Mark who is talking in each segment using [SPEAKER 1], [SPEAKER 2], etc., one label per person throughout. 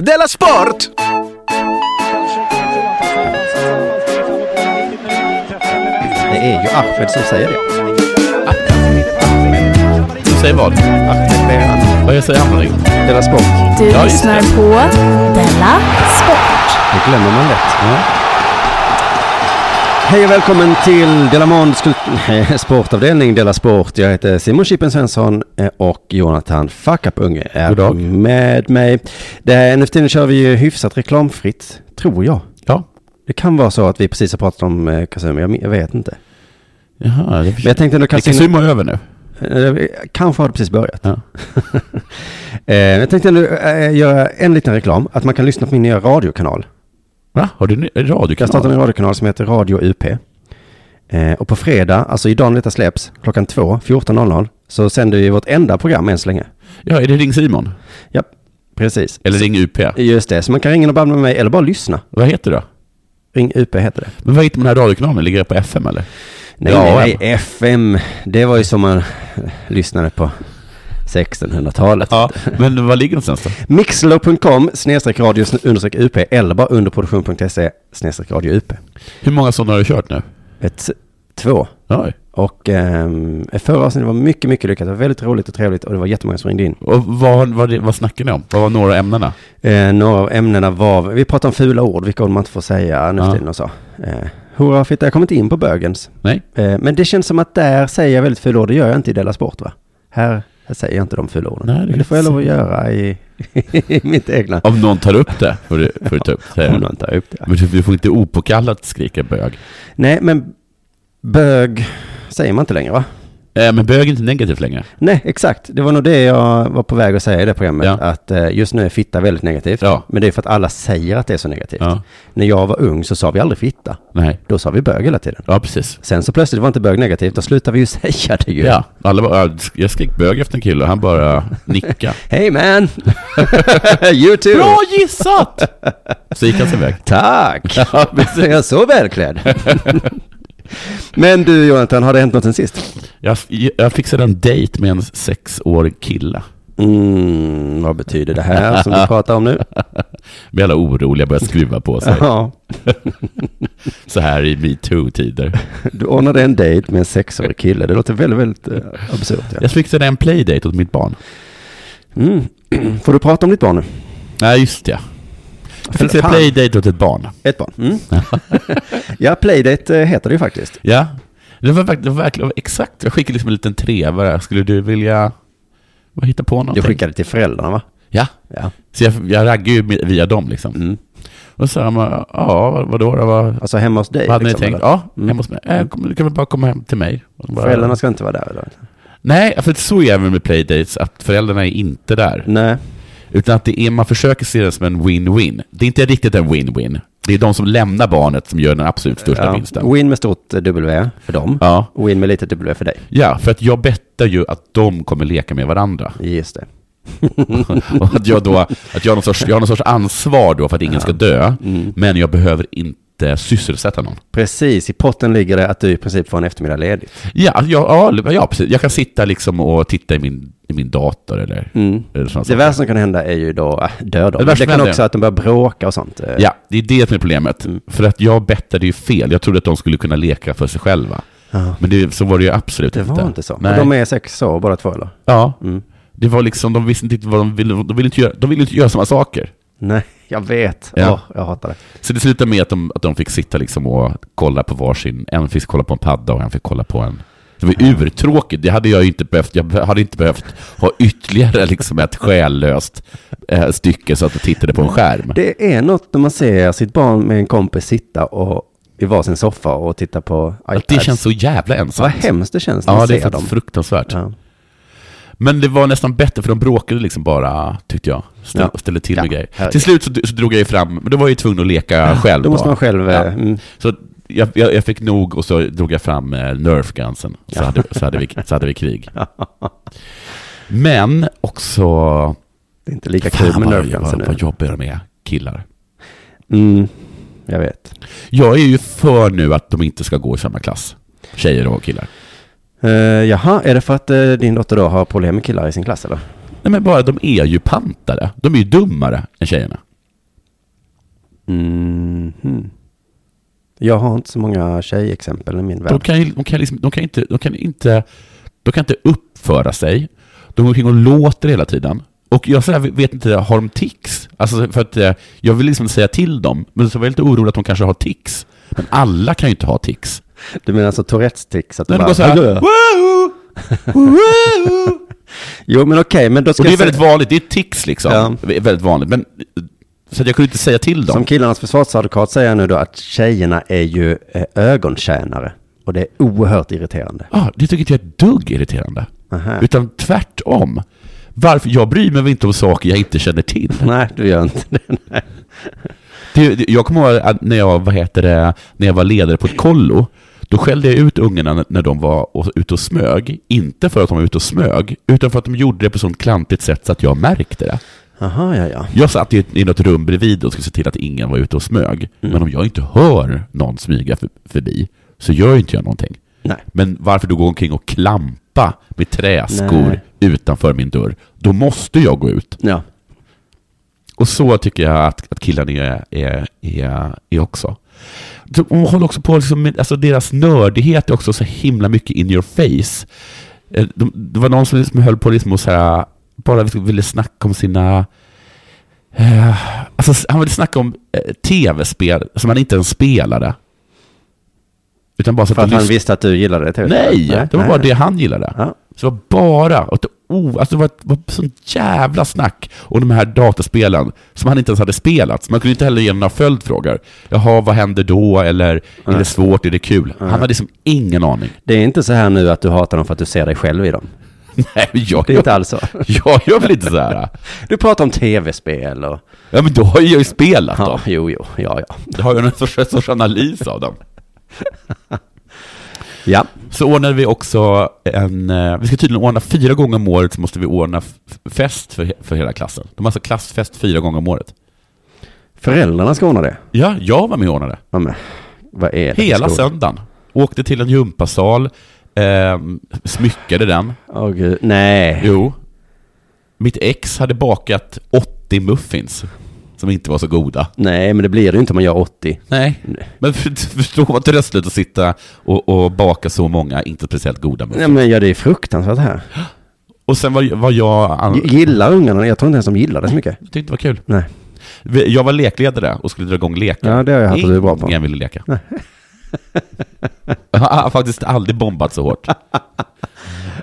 [SPEAKER 1] Della Sport!
[SPEAKER 2] Det är ju Ahmed som säger det.
[SPEAKER 3] Säg vad?
[SPEAKER 2] Ahmed Behan.
[SPEAKER 3] Vad jag säger Hammarby?
[SPEAKER 2] Della Sport.
[SPEAKER 4] Du
[SPEAKER 3] Ja, just
[SPEAKER 4] lyssnar
[SPEAKER 3] det.
[SPEAKER 4] på Della Sport.
[SPEAKER 2] Det glömmer man lätt. Hej och välkommen till Della Månds sportavdelning Della Sport. Jag heter Simon Chippen Svensson eh, och Jonathan Fuckup Unge är
[SPEAKER 3] God dag.
[SPEAKER 2] med mig. Det här, nu för tiden kör vi ju hyfsat reklamfritt, tror jag.
[SPEAKER 3] Ja.
[SPEAKER 2] Det kan vara så att vi precis har pratat om eh, Kazum, jag, min- jag vet inte.
[SPEAKER 3] Jaha, det
[SPEAKER 2] Men jag tänkte ändå
[SPEAKER 3] Vi kan
[SPEAKER 2] kasta in,
[SPEAKER 3] simma över nu.
[SPEAKER 2] eh, kanske har det precis börjat.
[SPEAKER 3] Ja.
[SPEAKER 2] Eh, jag tänkte ändå eh, göra en liten reklam, att man kan lyssna på min nya radiokanal.
[SPEAKER 3] Va? Har du en ny- en
[SPEAKER 2] Jag startade en
[SPEAKER 3] radiokanal?
[SPEAKER 2] radiokanal som heter Radio UP. Eh, och på fredag, alltså idag när detta släpps, klockan två, 14.00, så sänder vi vårt enda program än så länge.
[SPEAKER 3] Ja, är det Ring Simon?
[SPEAKER 2] Ja, precis.
[SPEAKER 3] Eller Ring UP?
[SPEAKER 2] Just det, så man kan ringa och babbla med mig eller bara lyssna.
[SPEAKER 3] Vad heter det då?
[SPEAKER 2] Ring UP heter det.
[SPEAKER 3] Men vad heter den här radiokanalen? Ligger det på FM eller?
[SPEAKER 2] Nej,
[SPEAKER 3] Ja,
[SPEAKER 2] nej, nej, FM, det var ju som man eh, lyssnade på 1600-talet.
[SPEAKER 3] Ja, men var ligger någonstans då?
[SPEAKER 2] Mixlo.com snedstreck radio sn- understreck UP eller bara underproduktion.se E snedstreck radio UP.
[SPEAKER 3] Hur många sådana har du kört nu?
[SPEAKER 2] Ett, två.
[SPEAKER 3] Oj.
[SPEAKER 2] Och ehm, förra avsnittet var mycket, mycket lyckat. Det var väldigt roligt och trevligt och det var jättemånga som ringde in.
[SPEAKER 3] Och vad, vad, vad snackar ni om? Vad var några av ämnena?
[SPEAKER 2] Eh, några av ämnena var, vi pratade om fula ord, vilka ord man inte får säga nu för
[SPEAKER 3] Ja.
[SPEAKER 2] tiden och så. Eh, hurra fitta, jag kom inte in på bögens.
[SPEAKER 3] Nej?
[SPEAKER 2] Eh, men det känns som att där säger jag väldigt fula ord, det gör jag inte i Della Sport va? Här, här säger jag inte de fula orden.
[SPEAKER 3] Nej, det
[SPEAKER 2] men
[SPEAKER 3] kan
[SPEAKER 2] det får jag
[SPEAKER 3] jag
[SPEAKER 2] lov att göra i, i mitt egna.
[SPEAKER 3] Om någon tar upp det, får du, får du ta upp säger
[SPEAKER 2] Om
[SPEAKER 3] han.
[SPEAKER 2] någon tar upp det.
[SPEAKER 3] Men du- du får inte opåkallat skrika bög.
[SPEAKER 2] Nej, men bög säger man inte längre va?
[SPEAKER 3] Eh, men bög är inte negativt längre.
[SPEAKER 2] Nej, exakt. Det var nog det jag var på väg att säga i det programmet.
[SPEAKER 3] Ja.
[SPEAKER 2] Att eh, just nu är fitta väldigt negativt.
[SPEAKER 3] Ja.
[SPEAKER 2] Men det är för att alla säger att det är så negativt.
[SPEAKER 3] Ja.
[SPEAKER 2] När jag var ung så sa vi aldrig fitta.
[SPEAKER 3] Nej.
[SPEAKER 2] Då sa vi bög hela tiden.
[SPEAKER 3] Ja, precis.
[SPEAKER 2] Sen så plötsligt var inte bög negativt, då slutade vi ju säga det ju.
[SPEAKER 3] Ja, alla bara, "Ja, jag skrek bög efter en kille och han bara nickade.
[SPEAKER 2] Hey man! you too!
[SPEAKER 3] Bra gissat! Så gick han sin väg.
[SPEAKER 2] Tack!
[SPEAKER 3] Ja, precis.
[SPEAKER 2] jag är så välklädd. Men du Jonathan, har det hänt något sen sist?
[SPEAKER 3] Jag, jag fixade en dejt med en sexårig kille.
[SPEAKER 2] Mm, vad betyder det här som du pratar om nu?
[SPEAKER 3] Blir alla oroliga, börjar skruva på sig.
[SPEAKER 2] Ja,
[SPEAKER 3] Så här i metoo-tider.
[SPEAKER 2] du ordnade en dejt med en sexårig kille. Det låter väldigt, väldigt eh, absurt. Ja.
[SPEAKER 3] Jag fixade en playdate åt mitt barn.
[SPEAKER 2] Mm. Får du prata om ditt barn nu?
[SPEAKER 3] Nej, just det. Jag fixade en
[SPEAKER 2] Fan.
[SPEAKER 3] playdate åt ett barn.
[SPEAKER 2] Ett barn. Mm. ja, Playdate eh, heter det ju faktiskt.
[SPEAKER 3] Ja. Det var, verk- det var verkligen exakt. Jag skickade liksom en liten trevare. Skulle du vilja vad, hitta på
[SPEAKER 2] Du
[SPEAKER 3] någonting?
[SPEAKER 2] skickade till föräldrarna va?
[SPEAKER 3] Ja.
[SPEAKER 2] Ja.
[SPEAKER 3] Så jag, jag raggade ju med- via dem liksom.
[SPEAKER 2] Mm.
[SPEAKER 3] Och så sa de, ja, vad- vadå då? Vad, vad
[SPEAKER 2] Alltså hemma hos dig?
[SPEAKER 3] hade ni
[SPEAKER 2] liksom,
[SPEAKER 3] tänkt?
[SPEAKER 2] eller?
[SPEAKER 3] Ja,
[SPEAKER 2] Mm.
[SPEAKER 3] hemma hos mig. Äh, kom, du kan väl bara komma hem till mig? Och bara,
[SPEAKER 2] Föräldrarna ska inte vara där idag.
[SPEAKER 3] Nej, för så är det även med playdates, att föräldrarna är inte där.
[SPEAKER 2] Nej.
[SPEAKER 3] Utan att det är, man försöker se det som en win-win. Det är inte riktigt en win-win. Det är de som lämnar barnet som gör den absolut största vinsten.
[SPEAKER 2] Ja. Win med stort eh, W för dem.
[SPEAKER 3] Ja.
[SPEAKER 2] Win med litet W för dig.
[SPEAKER 3] ja, för att jag bettar ju att de kommer leka med varandra.
[SPEAKER 2] Just det.
[SPEAKER 3] Och att jag då, att jag har någon sorts, jag har någon sorts ansvar då för att ingen ska dö, men jag behöver inte sysselsätta någon.
[SPEAKER 2] Mm. Precis, i potten ligger det att du i princip får en eftermiddag ledigt.
[SPEAKER 3] Ja, att jag, ja, ja precis. Jag kan sitta liksom och titta i min, i min dator eller, eller sådana
[SPEAKER 2] Det
[SPEAKER 3] saker.
[SPEAKER 2] värsta som kan hända är ju då, äh, dör de.
[SPEAKER 3] Mm. Det
[SPEAKER 2] Det,
[SPEAKER 3] värsta
[SPEAKER 2] kan
[SPEAKER 3] händer.
[SPEAKER 2] också att de börjar bråka och sånt. eh.
[SPEAKER 3] Ja, det är det som är problemet.
[SPEAKER 2] Mm.
[SPEAKER 3] För att jag bettade ju fel. Jag trodde att de skulle kunna leka för sig själva. Men det, så var det ju absolut
[SPEAKER 2] Typ Det
[SPEAKER 3] inte.
[SPEAKER 2] var inte så.
[SPEAKER 3] Nej.
[SPEAKER 2] Och de är sex år båda två eller? Mm.
[SPEAKER 3] Ja. Det var liksom, de visste inte vad de ville, de ville inte göra, de ville inte göra samma saker.
[SPEAKER 2] Nej, jag vet.
[SPEAKER 3] Ja.
[SPEAKER 2] Åh, jag hatar det.
[SPEAKER 3] Så det slutade med att de, att de fick sitta liksom och kolla på varsin, en fick kolla på en padda och en fick kolla på en... Det var
[SPEAKER 2] Mm.
[SPEAKER 3] urtråkigt, det hade jag ju inte behövt, jag be- hade inte behövt ha ytterligare liksom ett själlöst eh, stycke så att jag tittade på en skärm.
[SPEAKER 2] Det är något när man ser sitt barn med en kompis sitta och i varsin soffa och titta på
[SPEAKER 3] Att
[SPEAKER 2] iPads.
[SPEAKER 3] det känns så jävla
[SPEAKER 2] Vad
[SPEAKER 3] ensamt.
[SPEAKER 2] hemskt det känns när
[SPEAKER 3] Ja,
[SPEAKER 2] man
[SPEAKER 3] det är
[SPEAKER 2] ser dem.
[SPEAKER 3] faktiskt fruktansvärt.
[SPEAKER 2] Ja.
[SPEAKER 3] Men det var nästan bättre för de bråkade liksom bara, tyckte jag. Ställ,
[SPEAKER 2] Ja.
[SPEAKER 3] Ställde till med
[SPEAKER 2] Ja,
[SPEAKER 3] grejer.
[SPEAKER 2] herregud.
[SPEAKER 3] Till slut så, så drog jag ju fram, men då var jag ju tvungen att leka själv.
[SPEAKER 2] Då måste
[SPEAKER 3] bara.
[SPEAKER 2] man själv...
[SPEAKER 3] Ja.
[SPEAKER 2] eh, Mm,
[SPEAKER 3] Så jag, jag, jag fick nog och så drog jag fram eh, Nerf gunsen. Så, hade, så, hade vi, så hade vi krig. Men också...
[SPEAKER 2] det är inte lika
[SPEAKER 3] Fan,
[SPEAKER 2] kul med
[SPEAKER 3] vad-
[SPEAKER 2] nerfgansen
[SPEAKER 3] vad,
[SPEAKER 2] nu.
[SPEAKER 3] vad jobbiga de är, killar.
[SPEAKER 2] Mm, jag vet.
[SPEAKER 3] Jag är ju för nu att de inte ska gå i samma klass. Tjejer och killar.
[SPEAKER 2] Eh, jaha, är det för att eh, din dotter då har problem med killar i sin klass eller?
[SPEAKER 3] Nej men bara, de är ju pantade. De är ju dummare än tjejerna.
[SPEAKER 2] Mhm. Jag har inte så många tjejexempel i min
[SPEAKER 3] De
[SPEAKER 2] värld.
[SPEAKER 3] kan, ju- de, kan liksom, de, kan inte, de, kan inte, de kan inte uppföra sig. De går omkring och låter hela tiden. Och jag så här, vet inte, har de tics? Alltså för att eh, jag vill liksom säga till dem, men så var jag lite orolig att de kanske har tics. Men alla kan ju inte ha tics.
[SPEAKER 2] Du menar alltså Tourettes tics? Att du
[SPEAKER 3] Men de
[SPEAKER 2] bara,
[SPEAKER 3] går så här,
[SPEAKER 2] "Hallå?"
[SPEAKER 3] "Woohoo! Woohoo!"
[SPEAKER 2] Jo, men okej, men då ska
[SPEAKER 3] Och det är
[SPEAKER 2] jag säga-
[SPEAKER 3] väldigt vanligt, det är tics liksom.
[SPEAKER 2] Ja.
[SPEAKER 3] Det är väldigt vanligt. Men, så att jag kunde inte säga till dem.
[SPEAKER 2] Som killarnas försvarsadvokat säger jag nu då att tjejerna är ju eh, ögontjänare. Och det är oerhört irriterande.
[SPEAKER 3] Ja, Ah, det tycker inte jag är ett dugg irriterande.
[SPEAKER 2] Aha.
[SPEAKER 3] Utan tvärtom. Varför? Jag bryr mig väl inte om saker jag inte känner till.
[SPEAKER 2] Nej, du gör inte det.
[SPEAKER 3] Det, det, jag kommer ihåg att när jag, vad heter det, när jag var ledare på ett kollo, då skällde jag ut ungarna när- när de var och- ute och smög. Inte för att de var ute och smög, utan för att de gjorde det på ett sånt klantigt sätt så att jag märkte det.
[SPEAKER 2] Jaha, ja, ja.
[SPEAKER 3] Jag satt i, ett, i något rum bredvid och skulle se till att ingen var ute och smög. Men om jag inte hör någon smyga för, förbi, så gör ju inte jag någonting.
[SPEAKER 2] Nej.
[SPEAKER 3] Men varför då gå omkring och klampa med träskor
[SPEAKER 2] Nej.
[SPEAKER 3] utanför min dörr? Då måste jag gå ut.
[SPEAKER 2] Ja.
[SPEAKER 3] Och så tycker jag att, att killarna är, är, är, är också. De håller också på, liksom, med- alltså deras nördighet är också så himla mycket in your face. Eh, De, det var någon som liksom höll på liksom och så här, bara liksom ville snacka om sina... Eh, alltså han ville snacka om eh, tv-spel som han inte ens spelade. Utan bara så
[SPEAKER 2] För att
[SPEAKER 3] han
[SPEAKER 2] han visste att du gillade det. tror jag.
[SPEAKER 3] Nej, det var
[SPEAKER 2] nej.
[SPEAKER 3] bara det han gillade.
[SPEAKER 2] Ja.
[SPEAKER 3] Så det var bara, och det, oh, alltså det var ett var ett sånt jävla snack om de här dataspelen som han inte ens hade spelat. Så man kunde inte heller ge några följdfrågor. Jaha, vad händer då? Eller är det svårt? Är det kul? Han hade liksom ingen aning.
[SPEAKER 2] Det är inte så här nu att du hatar dem för att du ser dig själv i dem.
[SPEAKER 3] Nej, men jag,
[SPEAKER 2] Det är inte alls så.
[SPEAKER 3] jag gör väl inte så här.
[SPEAKER 2] Du pratar om tv-spel och...
[SPEAKER 3] Ja, men då har jag ju spelat
[SPEAKER 2] Ja,
[SPEAKER 3] dem.
[SPEAKER 2] jo, jo, ja, ja.
[SPEAKER 3] Då har jag någon sorts, sorts analys av dem.
[SPEAKER 2] Ja,
[SPEAKER 3] Så ordnade vi också en, eh, vi ska tydligen ordna fyra gånger om året så måste vi ordna f- fest för, he- för hela klassen. De har alltså klassfest fyra gånger om året.
[SPEAKER 2] föräldrarna ska ordna det.
[SPEAKER 3] Ja, jag var med och ordnade.
[SPEAKER 2] Ja, men, vad är det? för
[SPEAKER 3] Hela
[SPEAKER 2] skola?
[SPEAKER 3] söndagen. Åkte till en gympasal, eh, smyckade den.
[SPEAKER 2] Åh gud, nej.
[SPEAKER 3] Jo. Mitt ex hade bakat 80 muffins, som inte var så goda.
[SPEAKER 2] Nej, men det blir det ju inte om man gör 80.
[SPEAKER 3] Nej. Men för- förstå vad tröstlöst att sitta och, och baka så många inte speciellt goda muffins.
[SPEAKER 2] Nej, men ja, det är fruktansvärt här.
[SPEAKER 3] Och sen var, var jag...
[SPEAKER 2] G- Gillar ungarna Jag tror inte ens de gillar det så mycket.
[SPEAKER 3] Jag tyckte det var kul.
[SPEAKER 2] Nej.
[SPEAKER 3] Vi- Jag var lekledare och skulle dra igång leken.
[SPEAKER 2] Ja, det har jag hört att du är bra på.
[SPEAKER 3] Ingen ville leka. jag har faktiskt aldrig bombat så hårt.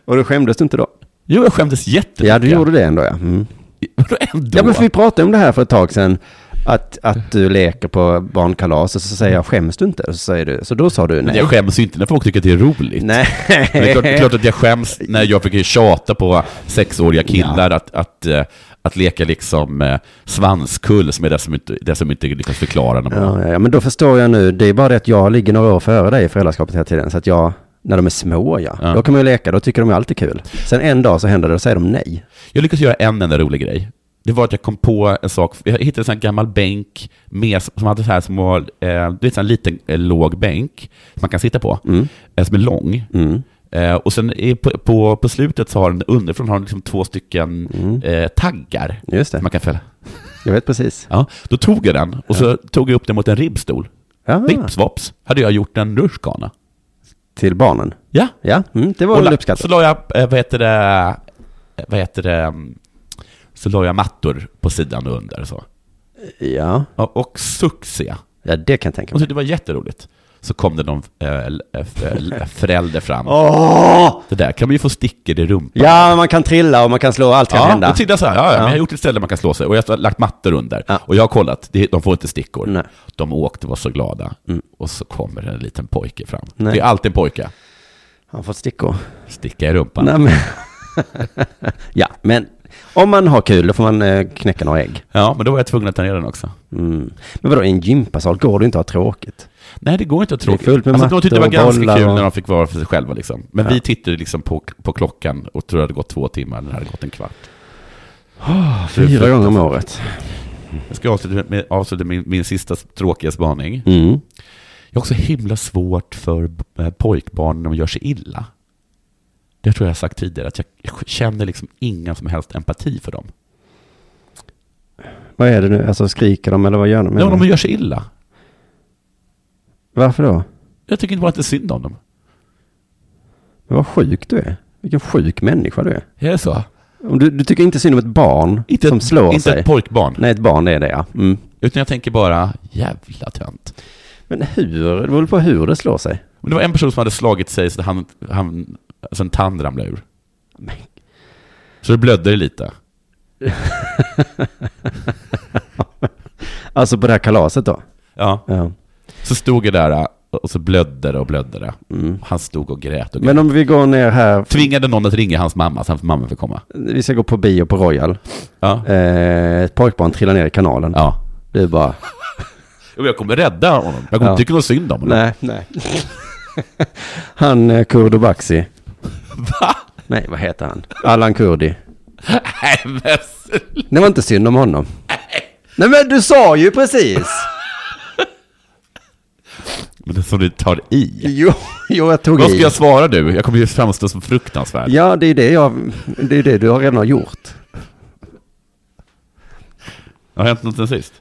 [SPEAKER 2] Och då skämdes du inte då?
[SPEAKER 3] Jo, jag skämdes jättemycket.
[SPEAKER 2] Ja, du gjorde det ändå ja. Mm.
[SPEAKER 3] Vadå ändå?
[SPEAKER 2] Ja, men för vi pratade om det här för ett tag sedan. Att, att du leker på barnkalas och så säger jag skäms du inte? Och Så, säger du, så då sa du
[SPEAKER 3] Men
[SPEAKER 2] nej.
[SPEAKER 3] jag skäms ju inte när folk tycker att det är roligt.
[SPEAKER 2] Nej.
[SPEAKER 3] Men Det är klart, det är klart att jag skäms när jag fick tjata på sexåriga killar att, att, eh, att leka liksom eh, svanskull, som är det som inte, det som inte lyckas förklara. När man,
[SPEAKER 2] Ja, ja, ja, men då förstår jag nu. Det är bara det att jag ligger några år före dig i föräldraskapet hela tiden. Så att jag, när de är små ja,
[SPEAKER 3] Ja.
[SPEAKER 2] då kan man ju leka, då tycker de ju alltid kul. Sen en dag så händer det, då säger de nej.
[SPEAKER 3] Jag lyckades göra en enda rolig grej. Det var att jag kom på en sak, jag hittade en sån här gammal bänk med, som hade så här små, eh, du vet, så här en liten eh, låg bänk som man kan sitta på,
[SPEAKER 2] Mm.
[SPEAKER 3] eh, som är lång. Eh, och sen är på, på, på slutet så har den underifrån har den liksom två stycken
[SPEAKER 2] Mm.
[SPEAKER 3] eh, taggar
[SPEAKER 2] Just det.
[SPEAKER 3] som man kan fälla.
[SPEAKER 2] Jag vet precis.
[SPEAKER 3] Ja, då tog jag den och så tog jag upp den mot en ribbstol.
[SPEAKER 2] Ja,
[SPEAKER 3] Vips vaps hade jag gjort en rutschkana.
[SPEAKER 2] till barnen.
[SPEAKER 3] Ja.
[SPEAKER 2] Ja, mm, det var
[SPEAKER 3] Och
[SPEAKER 2] väl
[SPEAKER 3] la, så
[SPEAKER 2] uppskattat.
[SPEAKER 3] la jag, eh, vad heter det, eh, vad heter det, mm, så la jag mattor på sidan och under och så.
[SPEAKER 2] Ja.
[SPEAKER 3] Ja, Och succé.
[SPEAKER 2] ja, det kan jag tänka
[SPEAKER 3] Och
[SPEAKER 2] mig.
[SPEAKER 3] så det var jätteroligt. Så kom det någon eh, l- eh, f- eh, l- förälder fram. Det där kan man ju få stickor i rumpan.
[SPEAKER 2] Ja, man kan trilla och man kan slå, allt kan
[SPEAKER 3] Ja,
[SPEAKER 2] hända.
[SPEAKER 3] då tyckte jag så här, ja, ja, men jag har gjort ett ställe man kan slå sig och jag har lagt mattor under.
[SPEAKER 2] Ja.
[SPEAKER 3] Och jag har kollat, det- de får inte stickor.
[SPEAKER 2] Nej. Mm.
[SPEAKER 3] De åkte och var så glada. Och så kommer en liten pojke fram.
[SPEAKER 2] Nej.
[SPEAKER 3] Det är alltid en pojke.
[SPEAKER 2] Han har fått stickor.
[SPEAKER 3] Sticka i rumpan.
[SPEAKER 2] Nej, men... ja, men om man har kul då får man eh, knäcka några ägg.
[SPEAKER 3] Ja, men då var jag tvungen att ta ner den också.
[SPEAKER 2] Mm. Men vadå, i en gympasal går det inte att ha tråkigt.
[SPEAKER 3] Nej, det går inte att
[SPEAKER 2] är
[SPEAKER 3] tråkigt.
[SPEAKER 2] fullt med
[SPEAKER 3] Alltså, de tyckte det var
[SPEAKER 2] mattor och
[SPEAKER 3] ganska
[SPEAKER 2] bollar
[SPEAKER 3] kul
[SPEAKER 2] och-
[SPEAKER 3] när de fick vara för sig själva. Liksom. Men vi tittade liksom på, på klockan och trodde det hade gått två timmar, när det hade gått en kvart.
[SPEAKER 2] Ah, Fyra gånger om året.
[SPEAKER 3] Jag ska avsluta med, avsluta min, min sista tråkiga spaning.
[SPEAKER 2] Mm.
[SPEAKER 3] Jag har också himla svårt för eh, pojkbarn när de gör sig illa. Det tror jag har sagt tidigare, att jag, jag känner liksom ingen som helst empati för dem.
[SPEAKER 2] Vad är det nu? Alltså skriker de eller vad gör de?
[SPEAKER 3] Ja, de gör sig illa.
[SPEAKER 2] Varför då?
[SPEAKER 3] Jag tycker inte bara att det är synd om dem.
[SPEAKER 2] Men vad sjuk du är. Vilken sjuk människa du är.
[SPEAKER 3] Är det så?
[SPEAKER 2] Om du, du tycker inte synd om ett barn
[SPEAKER 3] Inte,
[SPEAKER 2] som
[SPEAKER 3] ett,
[SPEAKER 2] slår
[SPEAKER 3] inte
[SPEAKER 2] sig.
[SPEAKER 3] ett pojkbarn.
[SPEAKER 2] Nej, ett barn det är det ja. Mm.
[SPEAKER 3] Utan jag tänker bara, jävla tönt.
[SPEAKER 2] Men hur? Det beror väl på hur det slår sig.
[SPEAKER 3] Men det var en person som hade slagit sig så att han, han, alltså en tand ramlade ur.
[SPEAKER 2] Men-
[SPEAKER 3] Så det blödde det lite.
[SPEAKER 2] Alltså på det här kalaset då?
[SPEAKER 3] Ja.
[SPEAKER 2] Ja.
[SPEAKER 3] Så stod jag där och så blödde det och blödde det.
[SPEAKER 2] Mm.
[SPEAKER 3] Han stod och grät och grät.
[SPEAKER 2] Men om vi går ner här.
[SPEAKER 3] Tvingade någon att ringa hans mamma så hans mamma fick komma.
[SPEAKER 2] Vi ska gå på bio på Royal.
[SPEAKER 3] Ja.
[SPEAKER 2] Eh, ett pojkbarn trillar ner i kanalen.
[SPEAKER 3] ja.
[SPEAKER 2] Det är bara...
[SPEAKER 3] Jo, Jag kommer rädda honom. Jag kommer
[SPEAKER 2] Ja.
[SPEAKER 3] inte tycka något synd om honom.
[SPEAKER 2] Nej, nej. han eh, Kurdo Baxi.
[SPEAKER 3] Va?
[SPEAKER 2] Nej, vad heter han? Allan Kurdi.
[SPEAKER 3] Nej, men sluta.
[SPEAKER 2] Det var inte synd om honom. Nej, men du sa ju precis.
[SPEAKER 3] Men det är som du tar i.
[SPEAKER 2] jo, jo, jag tog
[SPEAKER 3] Vad ska
[SPEAKER 2] i.
[SPEAKER 3] jag svara nu? Jag kommer ju framstå som fruktansvärd.
[SPEAKER 2] Ja, det är det jag... Det är det du har redan har gjort.
[SPEAKER 3] Har hänt något sen sist?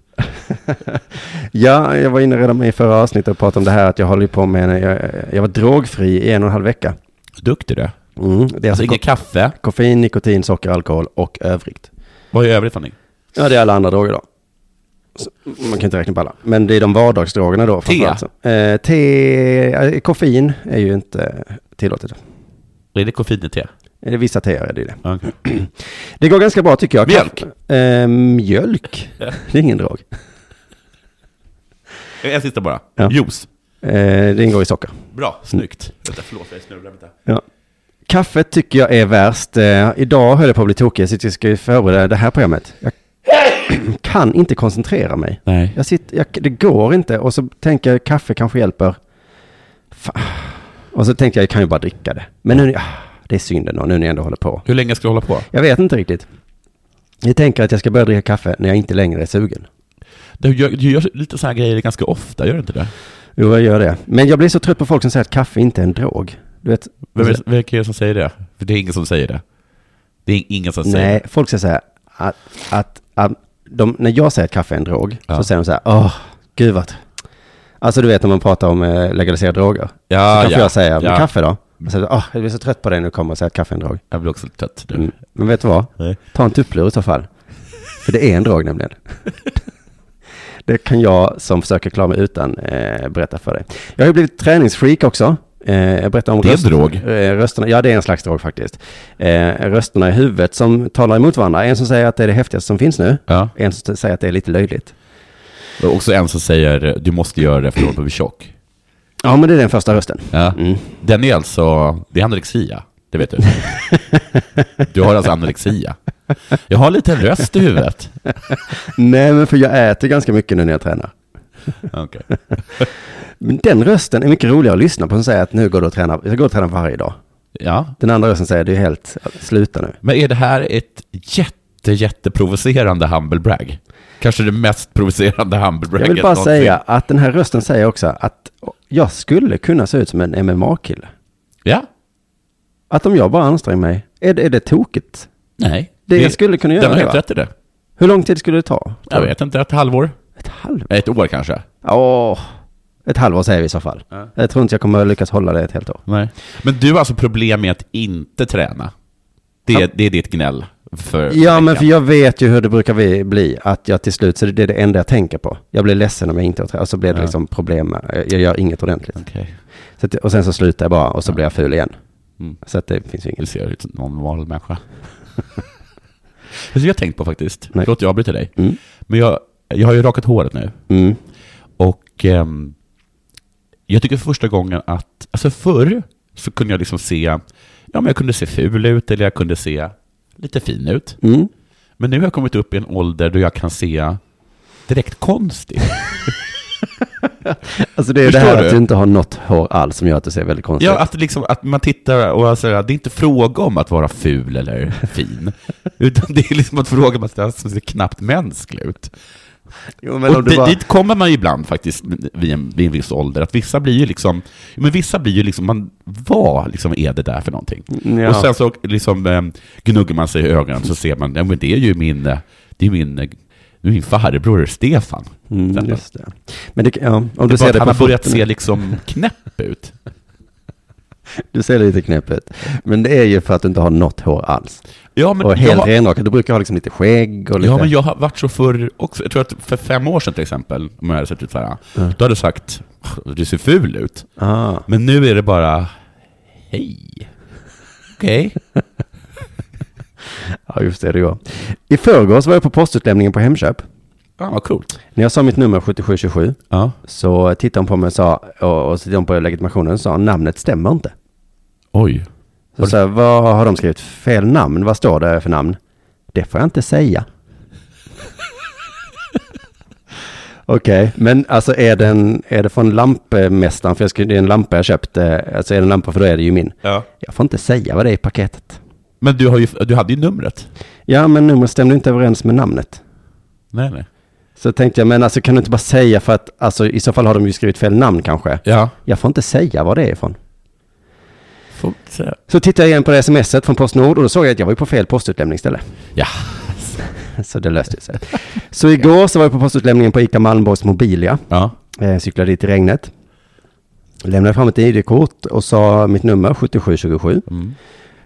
[SPEAKER 2] Ja, jag var inne redan i förra avsnittet och pratade om det här att jag håller på med... en- Jag, jag var drogfri i en och en halv vecka.
[SPEAKER 3] Duktig du. Alltså,
[SPEAKER 2] Mm. Det är alltså
[SPEAKER 3] inget
[SPEAKER 2] ko-
[SPEAKER 3] kaffe.
[SPEAKER 2] koffein, nikotin, socker, alkohol och övrigt.
[SPEAKER 3] Vad är övrigt Fanny?
[SPEAKER 2] Ja, det är alla andra droger då. Så, man kan inte räkna på alla. Men det är de vardagsdrogerna då. framförallt så. Eh, te, eh, koffein är ju inte tillåtet.
[SPEAKER 3] Är det koffein i te?
[SPEAKER 2] Eh, Det är vissa teer är det ju det.
[SPEAKER 3] Okay.
[SPEAKER 2] Det går ganska bra tycker jag.
[SPEAKER 3] Mjölk?
[SPEAKER 2] Kaffe- Eh, mjölk? Det är ingen drog.
[SPEAKER 3] En sista bara.
[SPEAKER 2] Ja.
[SPEAKER 3] Juice.
[SPEAKER 2] Eh, det ingår i socker.
[SPEAKER 3] Bra, Mm. snyggt. Vänta, förlåt, jag snurrar. Vänta.
[SPEAKER 2] Ja. Kaffet tycker jag är värst. Eh, idag höll jag på att bli tokig, så jag ska ju förbereda det här programmet. Jag kan inte koncentrera mig.
[SPEAKER 3] Nej.
[SPEAKER 2] Jag sitter, jag, det går inte och så tänker jag kaffe kanske hjälper. Fan. Och så tänkte jag, jag kan ju bara dricka det. Men nu, ah, det är synd ändå, nu när jag ändå håller på.
[SPEAKER 3] Hur länge ska du hålla på?
[SPEAKER 2] Jag vet inte riktigt. Jag tänker att jag ska börja dricka kaffe när jag inte längre är sugen.
[SPEAKER 3] Du gör, du gör lite sådana grejer ganska ofta, gör du inte det?
[SPEAKER 2] Jo, jag gör det. Men jag blir så trött på folk som säger att kaffe inte är en drog. Du vet,
[SPEAKER 3] Vem är, vilka är det som säger det? För det är ingen som säger det. Det är ingen som säger
[SPEAKER 2] nej, folk säger så här, att, att, att de, när jag säger att kaffe är en drog,
[SPEAKER 3] Ja.
[SPEAKER 2] så säger de så här, åh, gud vad... Alltså du vet när man pratar om eh, legaliserade droger.
[SPEAKER 3] Ja,
[SPEAKER 2] så kanske
[SPEAKER 3] Ah, ja,
[SPEAKER 2] jag säger, men
[SPEAKER 3] ja.
[SPEAKER 2] kaffe då? Och så, åh, jag blir så trött på dig när du kommer och säger att kaffe är en drog.
[SPEAKER 3] Jag blir också lite trött nu.
[SPEAKER 2] Mm. Men vet du vad?
[SPEAKER 3] Nej.
[SPEAKER 2] Ta en tupplur i så fall. För det är en drog nämligen. Det kan jag som försöker klara mig utan eh, berätta för dig. Jag har ju blivit träningsfreak också. Eh, jag berättade om
[SPEAKER 3] Det är en
[SPEAKER 2] röst-
[SPEAKER 3] drog.
[SPEAKER 2] eh, rösterna. Ja, det är en slags drog faktiskt. Eh, rösterna i huvudet som talar emot varandra. En som säger att det är det häftigaste som finns nu.
[SPEAKER 3] Ja.
[SPEAKER 2] En som säger att det är lite löjligt.
[SPEAKER 3] Och också en som säger du måste göra det för då blir vi tjock.
[SPEAKER 2] Ja, men det är den första rösten.
[SPEAKER 3] Ja.
[SPEAKER 2] Mm.
[SPEAKER 3] Den är alltså, det är anorexia. Det vet du. Du har alltså anorexia. Jag har en liten röst i huvudet.
[SPEAKER 2] Nej, men för jag äter ganska mycket nu när jag tränar.
[SPEAKER 3] Okej.
[SPEAKER 2] Men den rösten är mycket roligare att lyssna på som säger att nu går du och tränar. Jag går och tränar varje dag.
[SPEAKER 3] Ja.
[SPEAKER 2] Den andra rösten säger det är helt, sluta nu.
[SPEAKER 3] Men är det här ett jätte, jätteprovocerande humble brag? Kanske det mest provocerande humble bragget
[SPEAKER 2] Jag vill bara
[SPEAKER 3] någonsin.
[SPEAKER 2] säga att den här rösten säger också att jag skulle kunna se ut som en MMA-kille.
[SPEAKER 3] Ja.
[SPEAKER 2] Att om jag bara anstränger mig, är det, är det tokigt?
[SPEAKER 3] Nej.
[SPEAKER 2] Det jag skulle kunna göra
[SPEAKER 3] Den har
[SPEAKER 2] det,
[SPEAKER 3] helt
[SPEAKER 2] va?
[SPEAKER 3] rätt i det.
[SPEAKER 2] Hur lång tid skulle det ta?
[SPEAKER 3] Jag vet inte, ett halvår?
[SPEAKER 2] Ett halvår?
[SPEAKER 3] Nej, Ett år kanske?
[SPEAKER 2] Åh, ett halvår säger vi i så fall.
[SPEAKER 3] Ja.
[SPEAKER 2] Jag tror inte jag kommer lyckas hålla det ett helt år.
[SPEAKER 3] Nej. Men du har alltså problem med att inte träna? Det är,
[SPEAKER 2] Ja.
[SPEAKER 3] det är ditt gnäll? För
[SPEAKER 2] Ja, men för jag vet ju hur det brukar vi- bli, att jag till slut, så det är det enda jag tänker på. Jag blir ledsen om jag inte har trä- och så blir det
[SPEAKER 3] Ja.
[SPEAKER 2] liksom problem, med- jag gör inget ordentligt.
[SPEAKER 3] Okej.
[SPEAKER 2] Så att, och sen så slutar jag bara och så
[SPEAKER 3] Ja.
[SPEAKER 2] blir jag ful igen.
[SPEAKER 3] Mm.
[SPEAKER 2] Så att det finns ju
[SPEAKER 3] Du
[SPEAKER 2] inget.
[SPEAKER 3] ser ut som en normal människa. Vet du vad jag har tänkt på faktiskt?
[SPEAKER 2] Nej.
[SPEAKER 3] Förlåt, jag avbryter dig.
[SPEAKER 2] Mm.
[SPEAKER 3] Men jag, jag har ju rakat håret nu.
[SPEAKER 2] Mm.
[SPEAKER 3] Och ehm, jag tycker för första gången att, alltså förr så kunde jag liksom se, ja men jag kunde se ful ut eller jag kunde se lite fin ut.
[SPEAKER 2] Mm.
[SPEAKER 3] Men nu har jag kommit upp i en ålder då jag kan se direkt konstig.
[SPEAKER 2] Alltså det är det
[SPEAKER 3] Förstår
[SPEAKER 2] här
[SPEAKER 3] du?
[SPEAKER 2] att du inte har något hår alls som gör att du ser väldigt konstig
[SPEAKER 3] Ja,
[SPEAKER 2] ut.
[SPEAKER 3] att, liksom, att man tittar och alltså, det är inte fråga om att vara ful eller fin, utan det är liksom att fråga om att det ser knappt mänsklig ut.
[SPEAKER 2] Jo,
[SPEAKER 3] och di- dit kommer man ju ibland faktiskt vid en, vid en viss ålder, att vissa blir ju liksom, men vissa blir ju liksom, man, vad liksom är det där för någonting?
[SPEAKER 2] Mm, Ja.
[SPEAKER 3] Och sen ehm, så liksom eh, gnuggar man sig i ögonen så ser man, ja men det är ju min, eh, det är min eh, Min farbror Stefan.
[SPEAKER 2] Mm,
[SPEAKER 3] Fattar.
[SPEAKER 2] just det. Men det, ja, om
[SPEAKER 3] Det
[SPEAKER 2] du
[SPEAKER 3] är bara
[SPEAKER 2] ser
[SPEAKER 3] att
[SPEAKER 2] det
[SPEAKER 3] han
[SPEAKER 2] på
[SPEAKER 3] har börjat
[SPEAKER 2] foten,
[SPEAKER 3] se liksom knäpp ut.
[SPEAKER 2] du ser det lite knäppet. Men det är ju för att du inte har något hår alls.
[SPEAKER 3] Ja, men
[SPEAKER 2] och
[SPEAKER 3] jag,
[SPEAKER 2] helt
[SPEAKER 3] har-
[SPEAKER 2] renrakad. Du brukar ha liksom lite skägg och lite...
[SPEAKER 3] ja, men jag har varit så förr också. Jag tror att för fem år sedan till exempel, om jag hade sett ut så här, då hade jag sagt du ser ful ut.
[SPEAKER 2] ah,
[SPEAKER 3] Men nu är det bara, hej. Okej.
[SPEAKER 2] ja, just det, det går. I förrgår så var jag på postutlämningen på Hemköp.
[SPEAKER 3] Ja, vad coolt.
[SPEAKER 2] När jag sa mitt nummer 7727
[SPEAKER 3] Ja.
[SPEAKER 2] så tittade hon på mig och sa, och, och så tittade hon på legitimationen och sa, namnet stämmer inte.
[SPEAKER 3] Oj.
[SPEAKER 2] Så, så här, vad har de skrivit? Fel namn? Vad står det för namn? Det får jag inte säga. Okej, men alltså är den, är det från lampmästaren? För jag skulle, det är en lampa jag köpt. eh, Alltså är det en lampa för då är det ju min.
[SPEAKER 3] Ja.
[SPEAKER 2] Jag får inte säga vad det är i paketet.
[SPEAKER 3] Men du, har ju, du hade ju numret.
[SPEAKER 2] Ja, men numret stämde inte överens med namnet.
[SPEAKER 3] Nej, nej.
[SPEAKER 2] Så tänkte jag, men alltså kan du inte bara säga för att, alltså i så fall har de ju skrivit fel namn kanske.
[SPEAKER 3] Ja.
[SPEAKER 2] Jag får inte säga vad det är ifrån.
[SPEAKER 3] Får inte säga.
[SPEAKER 2] Så tittade jag igen på det smset från Postnord och då såg jag att jag var ju på fel postutlämningsställe.
[SPEAKER 3] Ja.
[SPEAKER 2] Så det löste sig. Så igår så var jag på postutlämningen på ICA Malmborgs Mobilia.
[SPEAKER 3] Ja.
[SPEAKER 2] Eh, cyklade dit i regnet. Lämnade fram ett ID-kort och sa mitt nummer 7727.
[SPEAKER 3] Mm.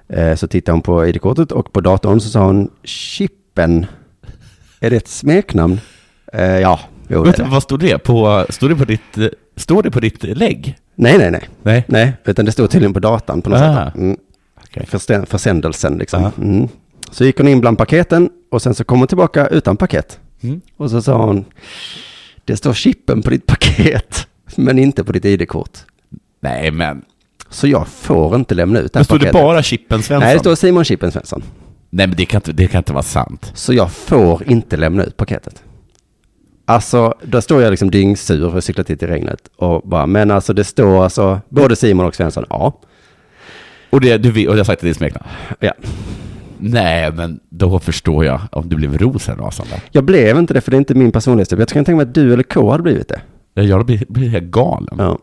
[SPEAKER 2] Eh, så tittade hon på ID-kortet och på datorn så sa hon Chippen. Är det ett smeknamn? Eh, ja, jo det är
[SPEAKER 3] Vet, du,
[SPEAKER 2] det.
[SPEAKER 3] vad stod det på? Stod det på ditt, eh, står det på ditt lägg?
[SPEAKER 2] Nej, nej, nej.
[SPEAKER 3] Nej.
[SPEAKER 2] Nej, utan det stod tydligen på datan på något
[SPEAKER 3] Ah.
[SPEAKER 2] sätt. Mm.
[SPEAKER 3] Okej.
[SPEAKER 2] Förstä- försändelsen liksom.
[SPEAKER 3] Ah.
[SPEAKER 2] Mm. Så gick hon in bland paketen och sen så kom hon tillbaka utan paket.
[SPEAKER 3] Mm.
[SPEAKER 2] Och så sa hon, det står chippen på ditt paket, men inte på ditt ID-kort.
[SPEAKER 3] Nej, men.
[SPEAKER 2] Så jag får inte lämna ut det
[SPEAKER 3] Men
[SPEAKER 2] här
[SPEAKER 3] stod det
[SPEAKER 2] paketet.
[SPEAKER 3] bara Chippen Svensson?
[SPEAKER 2] Nej, det står Simon Chippen Svensson.
[SPEAKER 3] Nej, men det kan, inte, det kan inte vara sant.
[SPEAKER 2] Så jag får inte lämna ut paketet. Alltså, då står jag liksom dyngsur och cyklat hit i regnet och bara, men alltså det står alltså både Simon och Svensson, ja.
[SPEAKER 3] Och, det, du, vet- och jag har sagt till din smeknamn.
[SPEAKER 2] ja.
[SPEAKER 3] Nej, men då förstår jag om du blev rosenrasande.
[SPEAKER 2] Jag blev inte det, för det är inte min personlighetstyp. Jag kan tänka mig att du eller K hade blivit det.
[SPEAKER 3] Jag blir, blir helt galen.
[SPEAKER 2] Ja.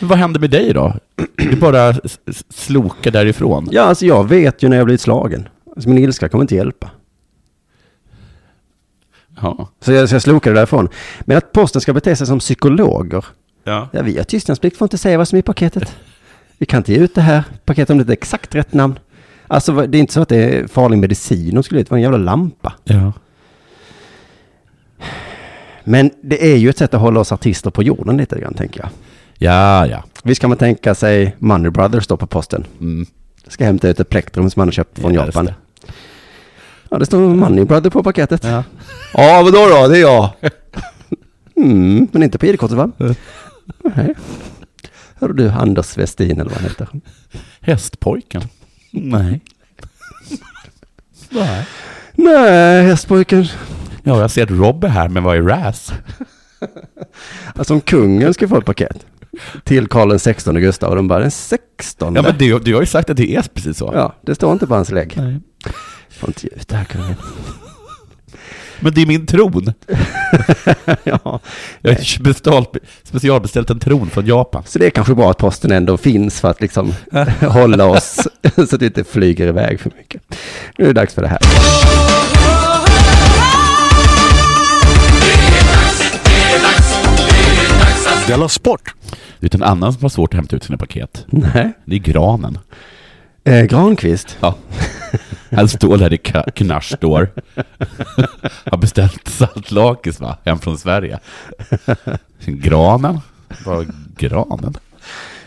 [SPEAKER 3] Men vad hände med dig då? Du bara s- s- slokar därifrån.
[SPEAKER 2] ja, alltså jag vet ju när jag blivit slagen. Alltså, min ilska kommer inte hjälpa.
[SPEAKER 3] Ja.
[SPEAKER 2] Så jag, så jag slokade därifrån. Men att posten ska bete sig som psykologer.
[SPEAKER 3] ja.
[SPEAKER 2] Ja, vi har tystnadsplikt, får inte säga vad som är i paketet. Vi kan inte ge ut det här paketet om det inte är exakt rätt namn. Alltså vad- det är inte så att det är farlig medicin de skulle ut, det var en jävla lampa.
[SPEAKER 3] ja.
[SPEAKER 2] Men det är ju ett sätt att hålla oss artister på jorden lite grann, tänker jag.
[SPEAKER 3] Ja, ja.
[SPEAKER 2] Visst kan man tänka sig Money Brothers då på posten.
[SPEAKER 3] Mm.
[SPEAKER 2] Ska hämta ut ett plektrum som han har köpt från
[SPEAKER 3] Ja, just
[SPEAKER 2] Japan.
[SPEAKER 3] det.
[SPEAKER 2] Ja, det står Money Brother på paketet.
[SPEAKER 3] Ja.
[SPEAKER 2] Ja, vadå då? Det är jag. Mm, men inte på ID-kortet va? Nej. Hör du Anders Westin eller vad han heter.
[SPEAKER 3] Hästpojken? Nej. Nej.
[SPEAKER 2] Nej, hästpojken.
[SPEAKER 3] Ja, jag ser att Robbe här, men vad är RAS?
[SPEAKER 2] Alltså om kungen ska få ett paket. Till Karl den 16 Gustav och de bara den 16.
[SPEAKER 3] Ja, men du, du har ju sagt att det är precis så.
[SPEAKER 2] ja, det står inte på hans lägg.
[SPEAKER 3] Nej.
[SPEAKER 2] Får inte ge ut det här kungen.
[SPEAKER 3] Men det är min tron.
[SPEAKER 2] ja.
[SPEAKER 3] Jag har ju beställt- specialbeställt en tron från Japan.
[SPEAKER 2] Så det är kanske bra att posten ändå finns för att liksom hålla oss så att vi inte flyger iväg för mycket. Nu är det dags för det här.
[SPEAKER 1] Della Sport!
[SPEAKER 3] Vet en annan som har svårt att hämta ut sina paket?
[SPEAKER 2] Nej.
[SPEAKER 3] Det är granen.
[SPEAKER 2] Eh, Granqvist.
[SPEAKER 3] Ja. Han står där i ka- knarr står. Har beställt saltlakis va? Hem från Sverige. Granen? Vad granen?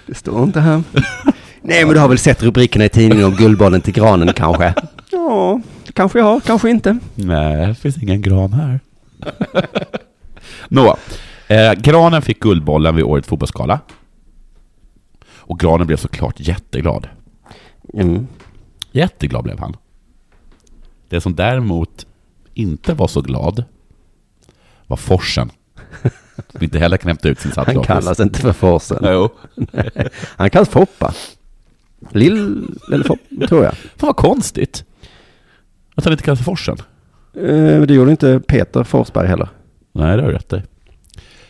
[SPEAKER 2] Det står inte här. Nej, men du har väl sett rubrikerna i tidningen om guldbollen till granen kanske? Ja, kanske jag har, kanske inte.
[SPEAKER 3] Nej, det finns ingen gran här. Nå, eh, granen fick Guldbollen vid årets fotbollsgala. Och granen blev såklart jätteglad.
[SPEAKER 2] Mm.
[SPEAKER 3] Jätteglad blev han. Det som däremot inte var så glad var forsen. Som inte heller kan hämta ut sin
[SPEAKER 2] Han
[SPEAKER 3] saltlakis.
[SPEAKER 2] kallas inte för Forsen.
[SPEAKER 3] Jo.
[SPEAKER 2] Han kallas Foppa. Lill, eller Foppa, tror jag.
[SPEAKER 3] Fan vad konstigt. Att han inte kallas för forsen.
[SPEAKER 2] Eh, men det gjorde inte Peter Forsberg heller.
[SPEAKER 3] Nej, det har du rätt i.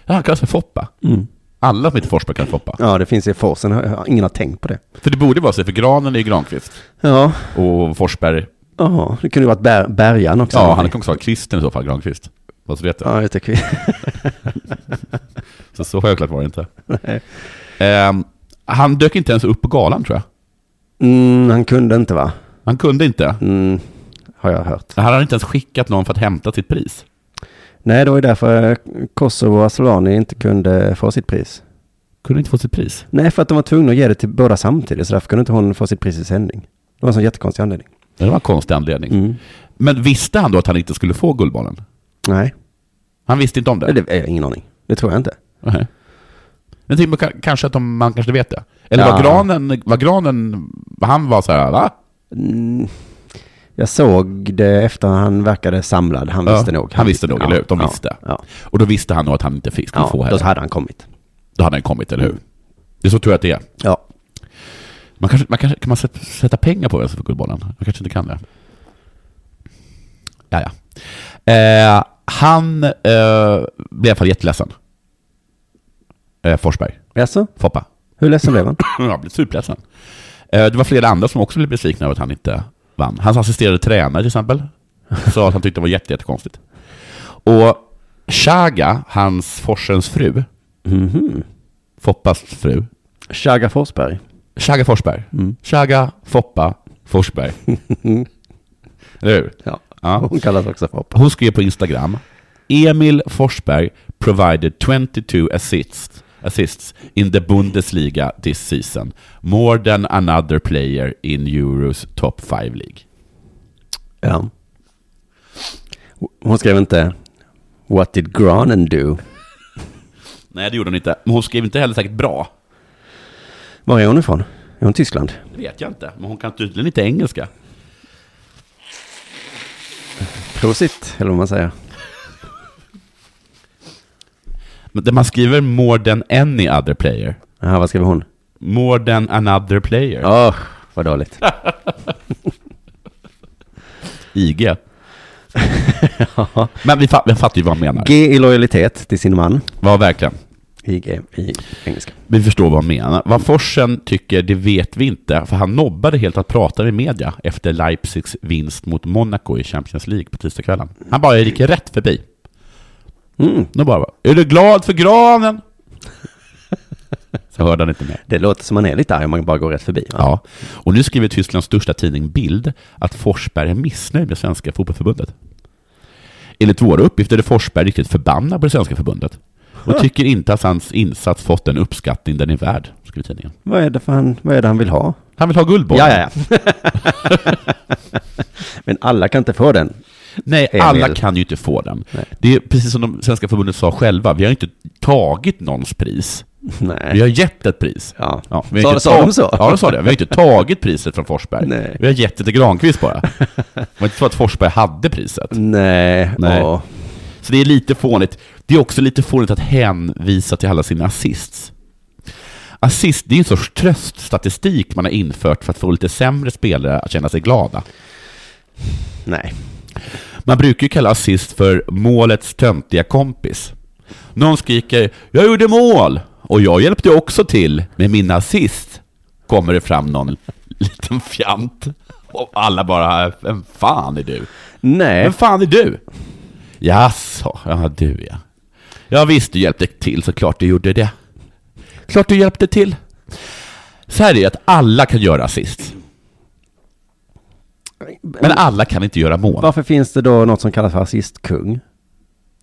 [SPEAKER 3] Ja, han kallas för Foppa.
[SPEAKER 2] Mm.
[SPEAKER 3] Alla som heter Forsberg kallas Foppa.
[SPEAKER 2] Ja, det finns i Forsen. Jag har- Ingen har tänkt på det.
[SPEAKER 3] För det borde vara så, för granen är ju Granqvist.
[SPEAKER 2] Ja,
[SPEAKER 3] Och Forsberg,
[SPEAKER 2] Jaha, det kunde ju varit Ber- Bergan också.
[SPEAKER 3] ja han kan också vara kristen i så fall, Granqvist. Vad så vet jag.
[SPEAKER 2] Ja, jag tycker vi.
[SPEAKER 3] Så, så självklart var det inte. Ehm, han dök inte ens upp på galan tror jag.
[SPEAKER 2] Mm, han kunde inte va?
[SPEAKER 3] Han kunde inte.
[SPEAKER 2] Mm, har jag hört.
[SPEAKER 3] Han hade inte ens skickat någon för att hämta sitt pris.
[SPEAKER 2] Nej, det var ju därför eh, Kosovo och Asllani inte kunde få sitt pris.
[SPEAKER 3] Kunde inte få sitt pris.
[SPEAKER 2] Nej, för att de var tvungna att ge det till båda samtidigt, så därför kunde inte hon få sitt pris i sändning. Det var en sån jättekonstig anledning.
[SPEAKER 3] Det var en konstig anledning.
[SPEAKER 2] Mm.
[SPEAKER 3] Men visste han då att han inte skulle få Guldbollen?
[SPEAKER 2] Nej,
[SPEAKER 3] Han visste inte om det?
[SPEAKER 2] det är ingen aning. Det tror jag inte.
[SPEAKER 3] Nej. Men tänk, på- kanske att de, man kanske vet det. Eller var
[SPEAKER 2] Ja.
[SPEAKER 3] granen, var granen, han var så här, va?
[SPEAKER 2] Mm. Jag såg det efter han verkade samlad. Han
[SPEAKER 3] Ja,
[SPEAKER 2] visste nog.
[SPEAKER 3] han visste nog, eller hur? De visste.
[SPEAKER 2] Ja,
[SPEAKER 3] Och då visste han nog att han inte fick, skulle
[SPEAKER 2] ja.
[SPEAKER 3] få
[SPEAKER 2] då
[SPEAKER 3] heller.
[SPEAKER 2] hade han kommit.
[SPEAKER 3] Då hade han kommit, eller hur? Det är så tror jag att det är.
[SPEAKER 2] Ja,
[SPEAKER 3] Man kanske, man kanske, kan man sätta- sätta pengar på vem som får Guldbollen? Man kanske inte kan det. Ja, ja. Eh, han eh, blev i alla fall jätteledsen. Eh, Forsberg,
[SPEAKER 2] Jaså?
[SPEAKER 3] Foppa.
[SPEAKER 2] Hur ledsen blev han?
[SPEAKER 3] Jag blev superledsen. Eh, det var flera andra som också blev besvikna över att han inte vann. Hans assisterade tränare till exempel sa att han tyckte det var jätte, jättekonstigt. Och Chaga, hans Forsens fru,
[SPEAKER 2] Mhm.
[SPEAKER 3] Foppas fru,
[SPEAKER 2] Chaga Forsberg.
[SPEAKER 3] Chaga Forsberg. Chaga, Foppa, Forsberg. Eller hur?
[SPEAKER 2] Ja.
[SPEAKER 3] Ja.
[SPEAKER 2] Hon kallas också för Hoppa.
[SPEAKER 3] Hon skrev på Instagram, Emil Forsberg provided 22 assists, assists in the Bundesliga this season. More than another player in Euros top 5 league.
[SPEAKER 2] Ja. Hon skrev inte What did Granen do?
[SPEAKER 3] Nej, det gjorde hon inte. Men hon skrev inte heller säkert bra.
[SPEAKER 2] Var är hon ifrån? Är hon Tyskland?
[SPEAKER 3] Det vet jag inte. Men hon kan tydligen inte engelska.
[SPEAKER 2] Prosit, eller vad man säger.
[SPEAKER 3] Men där man skriver more than any other player.
[SPEAKER 2] Jaha, vad skriver hon?
[SPEAKER 3] More than another player.
[SPEAKER 2] Åh, vad dåligt.
[SPEAKER 3] IG. Men vi, fa- vi fattar ju vad han menar.
[SPEAKER 2] G i lojalitet till sin man.
[SPEAKER 3] Ja, verkligen.
[SPEAKER 2] IG i engelska.
[SPEAKER 3] Vi förstår vad han menar. Vad Forsen tycker, det vet vi inte, för han nobbade helt att prata i media efter Leipzigs vinst mot Monaco i Champions League på tisdagskvällen. Han bara gick rätt förbi.
[SPEAKER 2] Mm.
[SPEAKER 3] Då bara, är du glad för granen? Så hörde han inte mer.
[SPEAKER 2] Det låter som man är lite arg om man bara går rätt förbi. va?
[SPEAKER 3] Ja. Och nu skriver Tysklands största tidning Bild att Forsberg är missnöjd med Svenska Fotbollförbundet. Enligt våra uppgifter är Forsberg riktigt förbannad på det svenska förbundet och tycker inte att hans insats fått den uppskattning den är värd, skriver tidningen.
[SPEAKER 2] Vad, är det för han, vad är det han vill ha?
[SPEAKER 3] Han vill ha Guldbollen.
[SPEAKER 2] ja. Men alla kan inte få den.
[SPEAKER 3] Nej,
[SPEAKER 2] Emil.
[SPEAKER 3] alla kan ju inte få den.
[SPEAKER 2] Nej.
[SPEAKER 3] Det är precis som de svenska förbundet sa själva, vi har inte tagit någons pris. Vi
[SPEAKER 2] Nej.
[SPEAKER 3] har gett ett pris.
[SPEAKER 2] Ja.
[SPEAKER 3] vi har
[SPEAKER 2] Sa-
[SPEAKER 3] inte
[SPEAKER 2] sa de
[SPEAKER 3] tagit-
[SPEAKER 2] så?
[SPEAKER 3] Ja, de sa det. Vi har inte tagit priset från Forsberg.
[SPEAKER 2] Nej.
[SPEAKER 3] Vi har gett det till Granqvist bara. Det var inte så att Forsberg hade priset.
[SPEAKER 2] Nej.
[SPEAKER 3] Nej.
[SPEAKER 2] åh.
[SPEAKER 3] Så det är lite fånigt. Det är också lite fånigt att hänvisa till alla sina assists. Assist, det är en sorts tröststatistik man har infört för att få lite sämre spelare att känna sig glada.
[SPEAKER 2] Nej.
[SPEAKER 3] Man brukar ju kalla assist för målets töntiga kompis. Någon skriker ”Jag gjorde mål!” och ”Jag hjälpte också till med min assist”, kommer det fram någon liten fjant. Och alla bara ”Vem fan är du?
[SPEAKER 2] Nej.
[SPEAKER 3] Vem fan är du?” ”Jaså, ja du ja. Ja visst, du hjälpte till, så klart du gjorde det. Klart du hjälpte till.” Så här är det att alla kan göra assist, men alla kan inte göra mål.
[SPEAKER 2] Varför finns det då något som kallas för assistkung?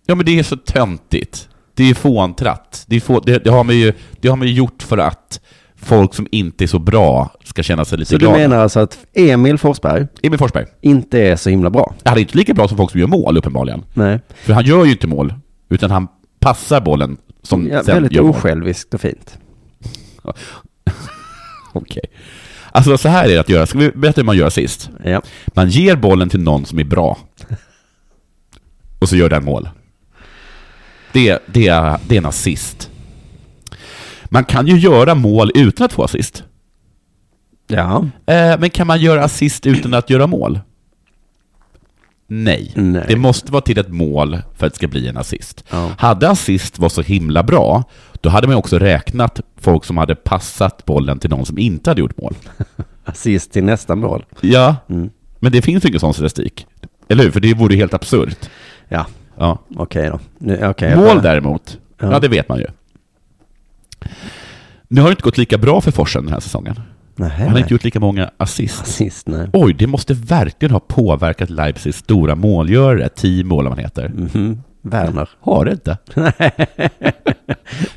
[SPEAKER 3] Ja men det är så töntigt. Det är fåntratt. Det, är få, det, det, har man ju, det har man ju gjort för att folk som inte är så bra ska känna sig lite
[SPEAKER 2] Så du
[SPEAKER 3] glada.
[SPEAKER 2] menar alltså att Emil Forsberg
[SPEAKER 3] Emil Forsberg,
[SPEAKER 2] inte är så himla bra?
[SPEAKER 3] han är inte lika bra som folk som gör mål uppenbarligen.
[SPEAKER 2] Nej.
[SPEAKER 3] För han gör ju inte mål, utan han passar bollen som
[SPEAKER 2] Ja,
[SPEAKER 3] sen
[SPEAKER 2] väldigt
[SPEAKER 3] gör mål.
[SPEAKER 2] osjälviskt och fint.
[SPEAKER 3] Okej. Alltså så här är det att göra. Ska vi berätta hur man gör sist?
[SPEAKER 2] Ja.
[SPEAKER 3] Man ger bollen till någon som är bra. Och så gör den mål. Det, det, är- det är en assist. Man kan ju göra mål utan att få assist.
[SPEAKER 2] Ja.
[SPEAKER 3] Eh, men kan man göra assist utan att göra mål? Nej.
[SPEAKER 2] Nej.
[SPEAKER 3] Det måste vara till ett mål för att det ska bli en assist.
[SPEAKER 2] Ja.
[SPEAKER 3] Hade assist var så himla bra, då hade man också räknat folk som hade passat bollen till någon som inte hade gjort mål. Mm.
[SPEAKER 2] Assist till nästa mål.
[SPEAKER 3] Ja, men det finns ju ingen sån statistik. Eller hur? För det vore helt absurt.
[SPEAKER 2] Ja.
[SPEAKER 3] Ja.
[SPEAKER 2] Okej då. Nu, okej, jag
[SPEAKER 3] Mål
[SPEAKER 2] börjar.
[SPEAKER 3] däremot,
[SPEAKER 2] Ja.
[SPEAKER 3] ja det vet man ju. Nu har det inte gått lika bra för Forsen den här säsongen.
[SPEAKER 2] Nähä,
[SPEAKER 3] Han har
[SPEAKER 2] nej.
[SPEAKER 3] inte gjort lika många assist.
[SPEAKER 2] Sist, nej.
[SPEAKER 3] Oj, det måste verkligen ha påverkat Leipzigs stora målgörare, Timo eller vad han heter.
[SPEAKER 2] Mhm. Werner.
[SPEAKER 3] Har det inte.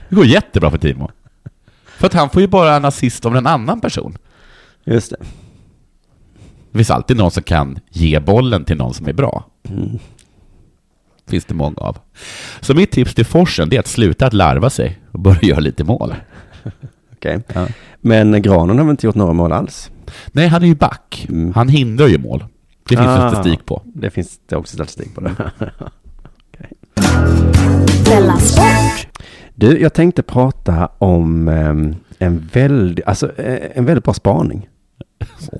[SPEAKER 3] det går jättebra för Timo. För att han får ju bara en assist av en annan person.
[SPEAKER 2] Just det.
[SPEAKER 3] Det finns alltid någon som kan ge bollen till någon som är bra.
[SPEAKER 2] Mm.
[SPEAKER 3] Finns det många av. Så mitt tips till Forsen det är att sluta att larva sig och börja göra lite mål.
[SPEAKER 2] Okej. Men Granen har väl inte gjort några mål alls?
[SPEAKER 3] Nej, han är ju back.
[SPEAKER 2] Mm.
[SPEAKER 3] Han hindrar ju mål. Det finns
[SPEAKER 2] Ah.
[SPEAKER 3] ah. statistik på.
[SPEAKER 2] Det finns det är också statistik på det.
[SPEAKER 4] Della Sport!
[SPEAKER 2] Du, jag tänkte prata om ehm, en, väldigt, alltså, eh, en väldigt bra spaning.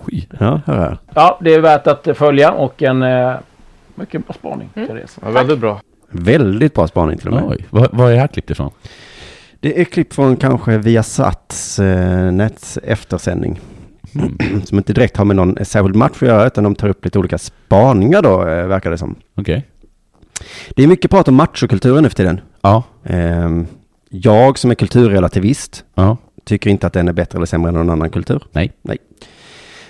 [SPEAKER 3] Oj.
[SPEAKER 2] Ja, hör här.
[SPEAKER 5] Ja, det är värt att följa och en eh, mycket bra spaning, Therese.
[SPEAKER 6] Ja, väldigt bra.
[SPEAKER 2] Väldigt bra spaning till och med.
[SPEAKER 3] Oj. Vad, vad är det här klippt ifrån?
[SPEAKER 2] Det är klipp från kanske Viasats eh, nät eftersändning.
[SPEAKER 3] Mm.
[SPEAKER 2] Som inte direkt har med någon särskild match att göra, utan de tar upp lite olika spaningar då, eh, verkar det som.
[SPEAKER 3] Okej.
[SPEAKER 2] Det är mycket prat om machokulturen nu för tiden.
[SPEAKER 3] Ja.
[SPEAKER 2] Ehm, jag som är kulturrelativist
[SPEAKER 3] Ja.
[SPEAKER 2] tycker inte att den är bättre eller sämre än någon annan kultur.
[SPEAKER 3] Nej.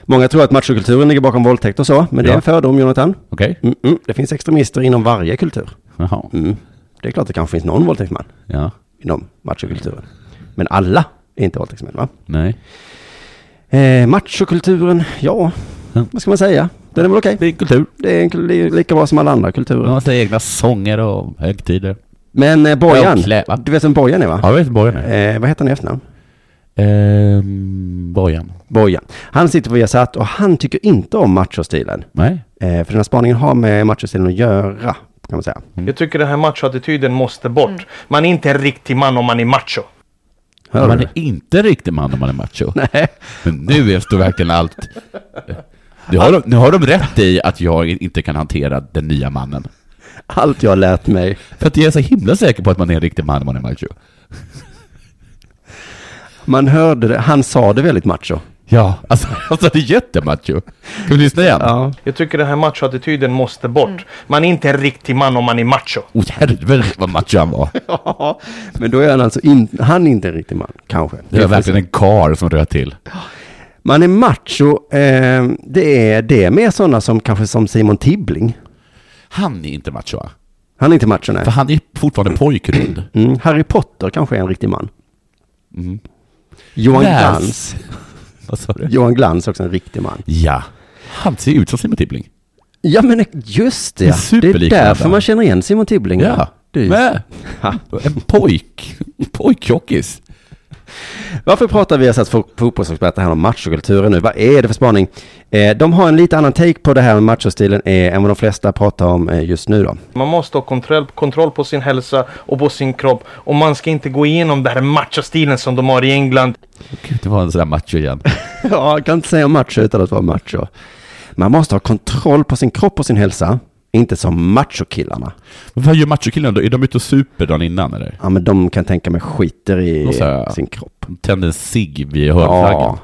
[SPEAKER 2] Många tror att machokulturen ligger bakom våldtäkt och så, men det är
[SPEAKER 3] Ja.
[SPEAKER 2] en fördom, Jonathan.
[SPEAKER 3] Okej.
[SPEAKER 2] Mm -mm. Det finns extremister inom varje kultur.
[SPEAKER 3] Jaha.
[SPEAKER 2] Mm. Det är klart det kanske finns någon våldtäktsman
[SPEAKER 3] Ja.
[SPEAKER 2] inom machokulturen. Men alla är inte våldtäktsmän, va?
[SPEAKER 3] Nej.
[SPEAKER 2] Eh, machokulturen, ja,
[SPEAKER 3] Ja.
[SPEAKER 2] vad ska man säga? Den är väl okej.
[SPEAKER 3] Det är kultur.
[SPEAKER 2] Det är en kul- det är lika bra som alla andra kulturer.
[SPEAKER 3] Man har sina egna sånger och högtider.
[SPEAKER 2] Men eh, Bojan,
[SPEAKER 3] Ja, klä, va?
[SPEAKER 2] du vet vem Bojan är va?
[SPEAKER 3] Ja, jag vet Bojan är.
[SPEAKER 2] Eh, vad heter han i efternamn?
[SPEAKER 3] Ehm, Bojan.
[SPEAKER 2] Bojan. Han sitter på Viasat och han tycker inte om machostilen.
[SPEAKER 3] Nej.
[SPEAKER 2] Eh, för den här spaningen har med machostilen att göra, kan man säga.
[SPEAKER 6] Mm. Jag tycker den här machoattityden måste bort. Man är inte en riktig man om man är macho.
[SPEAKER 2] Hör
[SPEAKER 3] man
[SPEAKER 2] du?
[SPEAKER 3] är inte riktig man om man är macho. Nej. Men nu är- står verkligen allt... Nu har, de, nu har de rätt i att jag inte kan hantera den nya mannen.
[SPEAKER 2] Allt jag har lärt mig.
[SPEAKER 3] För att jag är så himla säker på att man är en riktig man om man är macho.
[SPEAKER 2] Man hörde det, han sa det väldigt macho.
[SPEAKER 3] Ja. Alltså, alltså det är jättemacho. Ska vi lyssna igen?
[SPEAKER 2] Ja.
[SPEAKER 6] Jag tycker den här machoattityden måste bort. Man är inte en riktig man om man är macho.
[SPEAKER 3] Åh helvete vad macho han var.
[SPEAKER 2] Men då är han alltså in, han är inte en riktig man, kanske.
[SPEAKER 3] Det var verkligen en kar som röt till.
[SPEAKER 2] Man är macho, eh, det är det är med sådana som kanske som Simon Tibbling.
[SPEAKER 3] Han är inte macho va?
[SPEAKER 2] Han är inte macho, nej.
[SPEAKER 3] För han är fortfarande pojkrund.
[SPEAKER 2] Mm, Harry Potter kanske är en riktig man. Johan
[SPEAKER 3] Mm. Läs.
[SPEAKER 2] Glans.
[SPEAKER 3] Vad sa du?
[SPEAKER 2] Johan Glans är också en riktig man.
[SPEAKER 3] Ja. Han ser ut som Simon Tibbling.
[SPEAKER 2] Ja, men just det.
[SPEAKER 3] är
[SPEAKER 2] Det är
[SPEAKER 3] superlik
[SPEAKER 2] därför
[SPEAKER 3] varandra.
[SPEAKER 2] man känner igen Simon Tibbling.
[SPEAKER 3] Ja.
[SPEAKER 2] Du.
[SPEAKER 3] Men, en pojk. Pojktjockis.
[SPEAKER 2] Varför pratar vi alltså fo- fotbollsexperter här om machokulturen nu? Vad är det för spaning? Eh, de har en lite annan take på det här med machostilen eh, än vad de flesta pratar om eh, just nu då.
[SPEAKER 6] Man måste ha kontroll, kontroll på sin hälsa och på sin kropp. Och man ska inte gå igenom den här machostilen som de har i England.
[SPEAKER 3] Gud, det var en sån där macho igen.
[SPEAKER 2] Ja, jag kan inte säga macho utan att vara macho. Man måste ha kontroll på sin kropp och sin hälsa. Inte som machokillarna.
[SPEAKER 3] Men vad gör machokillarna då? Är de ute och super dagen innan eller?
[SPEAKER 2] Ja, men de kan tänka mig skiter i
[SPEAKER 3] Och så här-
[SPEAKER 2] sin kropp.
[SPEAKER 3] De tänder en cigg vid
[SPEAKER 2] Ja,
[SPEAKER 3] hörnflaggan.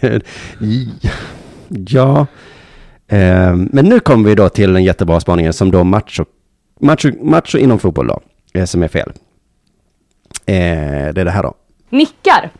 [SPEAKER 2] herregud. ja. Ehm, men nu kommer vi då till den jättebra spaningen som då macho, macho, macho inom fotboll då, eh, som är fel. Eh, det är det här då.
[SPEAKER 7] nickar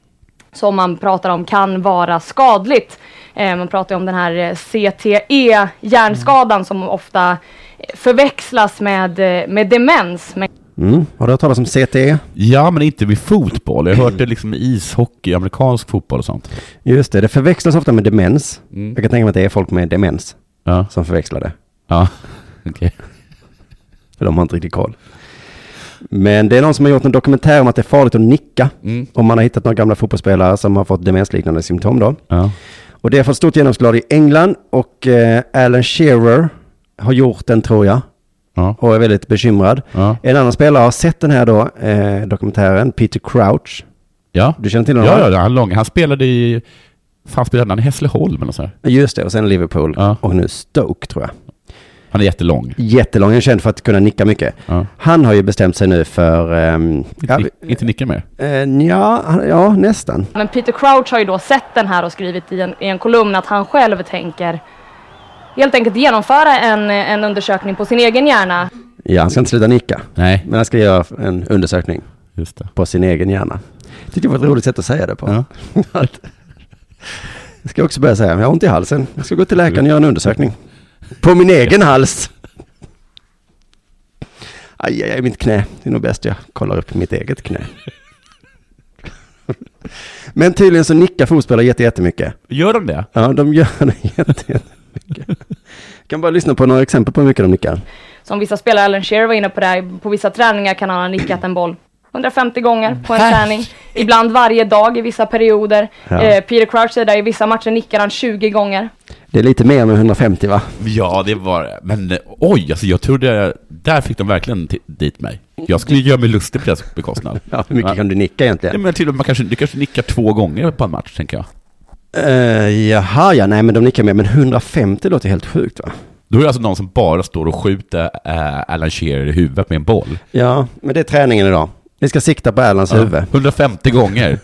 [SPEAKER 7] som man pratar om kan vara skadligt. Eh, man pratar ju om den här eh, CTE, hjärnskadan som ofta eh, förväxlas med, eh, med demens. Men
[SPEAKER 2] Mm. Har du hört talas om CTE?
[SPEAKER 3] Ja, men inte vid fotboll. Jag har hört det liksom i ishockey, amerikansk fotboll och sånt.
[SPEAKER 2] Just det, det förväxlas ofta med demens.
[SPEAKER 3] Mm.
[SPEAKER 2] Jag kan tänka mig att det är folk med demens
[SPEAKER 3] Ja,
[SPEAKER 2] som förväxlar det.
[SPEAKER 3] ja. okej.
[SPEAKER 2] För de har inte riktigt koll. Men det är någon som har gjort en dokumentär om att det är farligt att nicka.
[SPEAKER 3] Mm.
[SPEAKER 2] Om man har hittat några gamla fotbollsspelare som har fått demensliknande symptom då.
[SPEAKER 3] Ja.
[SPEAKER 2] Och det har fått stort genomslag i England och eh, Alan Shearer har gjort den tror jag
[SPEAKER 3] Ja.
[SPEAKER 2] och är väldigt bekymrad.
[SPEAKER 3] Ja.
[SPEAKER 2] En annan spelare har sett den här då, eh, dokumentären, Peter Crouch.
[SPEAKER 3] ja.
[SPEAKER 2] Du känner till honom?
[SPEAKER 3] Ja, ja, han, är lång. han spelade i... Fan, spelade han i Hässleholm eller nåt sånt? där?
[SPEAKER 2] ja. Just det, och sen Liverpool
[SPEAKER 3] Ja.
[SPEAKER 2] och nu Stoke tror jag.
[SPEAKER 3] Han är jättelång.
[SPEAKER 2] Jättelång, han är känd för att kunna nicka mycket.
[SPEAKER 3] Ja.
[SPEAKER 2] Han har ju bestämt sig nu för, ehm, ja,
[SPEAKER 3] Inte, inte nicka mer.
[SPEAKER 2] eh, ja, han- ja, nästan.
[SPEAKER 7] men Peter Crouch har ju då sett den här och skrivit i en, i en kolumn att han själv tänker helt enkelt genomföra en, en undersökning på sin egen hjärna.
[SPEAKER 2] Ja, han ska inte sluta nicka.
[SPEAKER 3] Nej,
[SPEAKER 2] Men han ska göra en undersökning
[SPEAKER 3] just det.
[SPEAKER 2] på sin egen hjärna. Tyckte det var ett roligt sätt att säga det på.
[SPEAKER 3] Ja.
[SPEAKER 2] Att- jag ska också börja säga, jag har ont i halsen. Jag ska gå till läkaren och göra en undersökning. På min egen hals! Aj, aj, aj, mitt knä. Det är nog bäst jag kollar upp mitt eget knä. Men tydligen så nickar fotbollsspelare jätte- jättemycket.
[SPEAKER 3] Gör de det?
[SPEAKER 2] Ja, de gör det jätte- jättemycket. Jag kan bara lyssna på några exempel på hur mycket de nickar.
[SPEAKER 7] Som vissa spelare, Alan Shearer var inne på det här, på vissa träningar kan han ha nickat en boll 150 gånger på en träning. Ibland varje dag i vissa perioder.
[SPEAKER 2] Ja.
[SPEAKER 7] Eh, Peter Crouch säger där, i vissa matcher nickar han 20 gånger.
[SPEAKER 2] Det är lite mer än 150 va?
[SPEAKER 3] Ja, det var Men eh, oj, alltså jag trodde... Där fick de verkligen ti- dit mig. Jag skulle ju göra mig lustig på deras bekostnad.
[SPEAKER 2] Ja, hur mycket
[SPEAKER 3] Ja.
[SPEAKER 2] kan du nicka egentligen?
[SPEAKER 3] Nej, men till och med, man kanske, du kanske nickar två gånger på en match, tänker jag.
[SPEAKER 2] Eh, jaha, ja, nej men de nickar mer, men 150 låter helt sjukt va?
[SPEAKER 3] Då är det alltså någon som bara står och skjuter eh, Alan Shearer i huvudet med en boll.
[SPEAKER 2] Ja, men det är träningen idag. Vi ska sikta på Erlands huvud.
[SPEAKER 3] 150 gånger.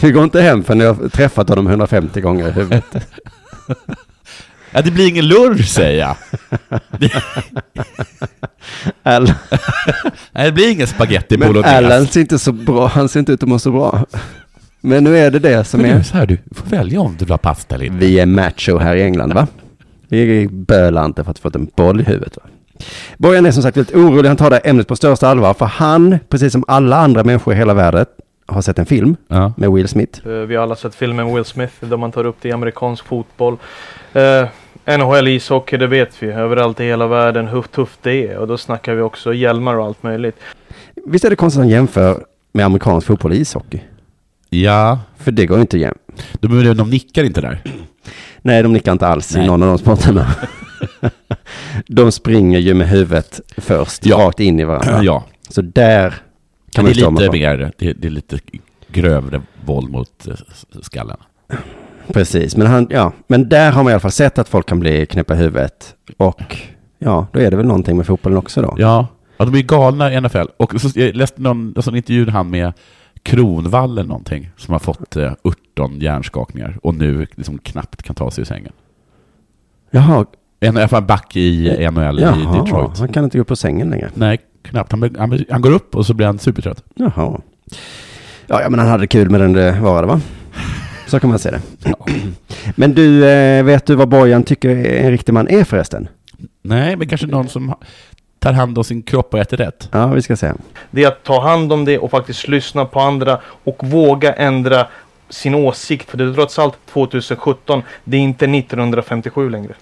[SPEAKER 2] Vi går inte hem förrän jag har träffat honom 150 gånger i huvudet.
[SPEAKER 3] Ja, det blir ingen lunch, säger jag.
[SPEAKER 2] Erl-
[SPEAKER 3] Nej, det blir ingen spaghetti
[SPEAKER 2] men
[SPEAKER 3] bolognese.
[SPEAKER 2] Erland ser inte så bra, han ser inte ut att må så bra. Men nu är det det som
[SPEAKER 3] Men du,
[SPEAKER 2] är...
[SPEAKER 3] så här, du får välja om du vill ha pasta eller inte.
[SPEAKER 2] Vi är macho här i England va? Vi bölar inte för att få en boll i huvudet va? Bojan är som sagt väldigt orolig, han tar det här ämnet på största allvar. För han, precis som alla andra människor i hela världen, har sett en film
[SPEAKER 3] Ja.
[SPEAKER 2] med Will Smith.
[SPEAKER 6] Eh, Vi har alla sett filmen Will Smith där man tar upp det i amerikansk fotboll. Eh, NHL ishockey, det vet vi. Överallt i hela världen hur tufft det är. Och då snackar vi också hjälmar och allt möjligt.
[SPEAKER 2] Visst är det konstigt att han jämför med amerikansk fotboll och ishockey?
[SPEAKER 3] ja.
[SPEAKER 2] För det går ju inte igen.
[SPEAKER 3] De, de nickar inte där.
[SPEAKER 2] Nej, de nickar inte alls i
[SPEAKER 3] Nej.
[SPEAKER 2] någon av de sporterna. de springer ju med huvudet först,
[SPEAKER 3] Ja.
[SPEAKER 2] rakt in i varandra.
[SPEAKER 3] Ja.
[SPEAKER 2] Så där kan
[SPEAKER 3] det
[SPEAKER 2] man
[SPEAKER 3] är
[SPEAKER 2] stå
[SPEAKER 3] lite
[SPEAKER 2] med.
[SPEAKER 3] mer, det, det är lite grövre våld mot eh, s- skallen.
[SPEAKER 2] Precis, men, han, ja. men där har man i alla fall sett att folk kan bli knäppa i huvudet. Och ja, då är det väl någonting med fotbollen också då.
[SPEAKER 3] Ja. ja, de är galna i NFL. Och så, jag läste någon, alltså en intervju med han med Kronvall eller någonting, som har fått eh, 18 hjärnskakningar och nu liksom knappt kan ta sig ur sängen.
[SPEAKER 2] Jaha,
[SPEAKER 3] En, i alla fall back i eh, NHL i
[SPEAKER 2] jaha
[SPEAKER 3] Detroit.
[SPEAKER 2] han kan inte gå upp på sängen längre.
[SPEAKER 3] Nej, knappt. Han, blir- han, blir- han går upp och så blir han supertrött.
[SPEAKER 2] Jaha. Ja, ja, men han hade kul med den det varade, va? Så kan man se det. Men du, eh, vet du vad Bojan tycker en riktig man är förresten?
[SPEAKER 3] Nej, men kanske någon som ha- tar hand om sin kropp och äter rätt.
[SPEAKER 2] Ja, vi ska se.
[SPEAKER 6] Det är att ta hand om det och faktiskt lyssna på andra och våga ändra sin åsikt. För det är trots allt 2017. Det är inte 1957 längre.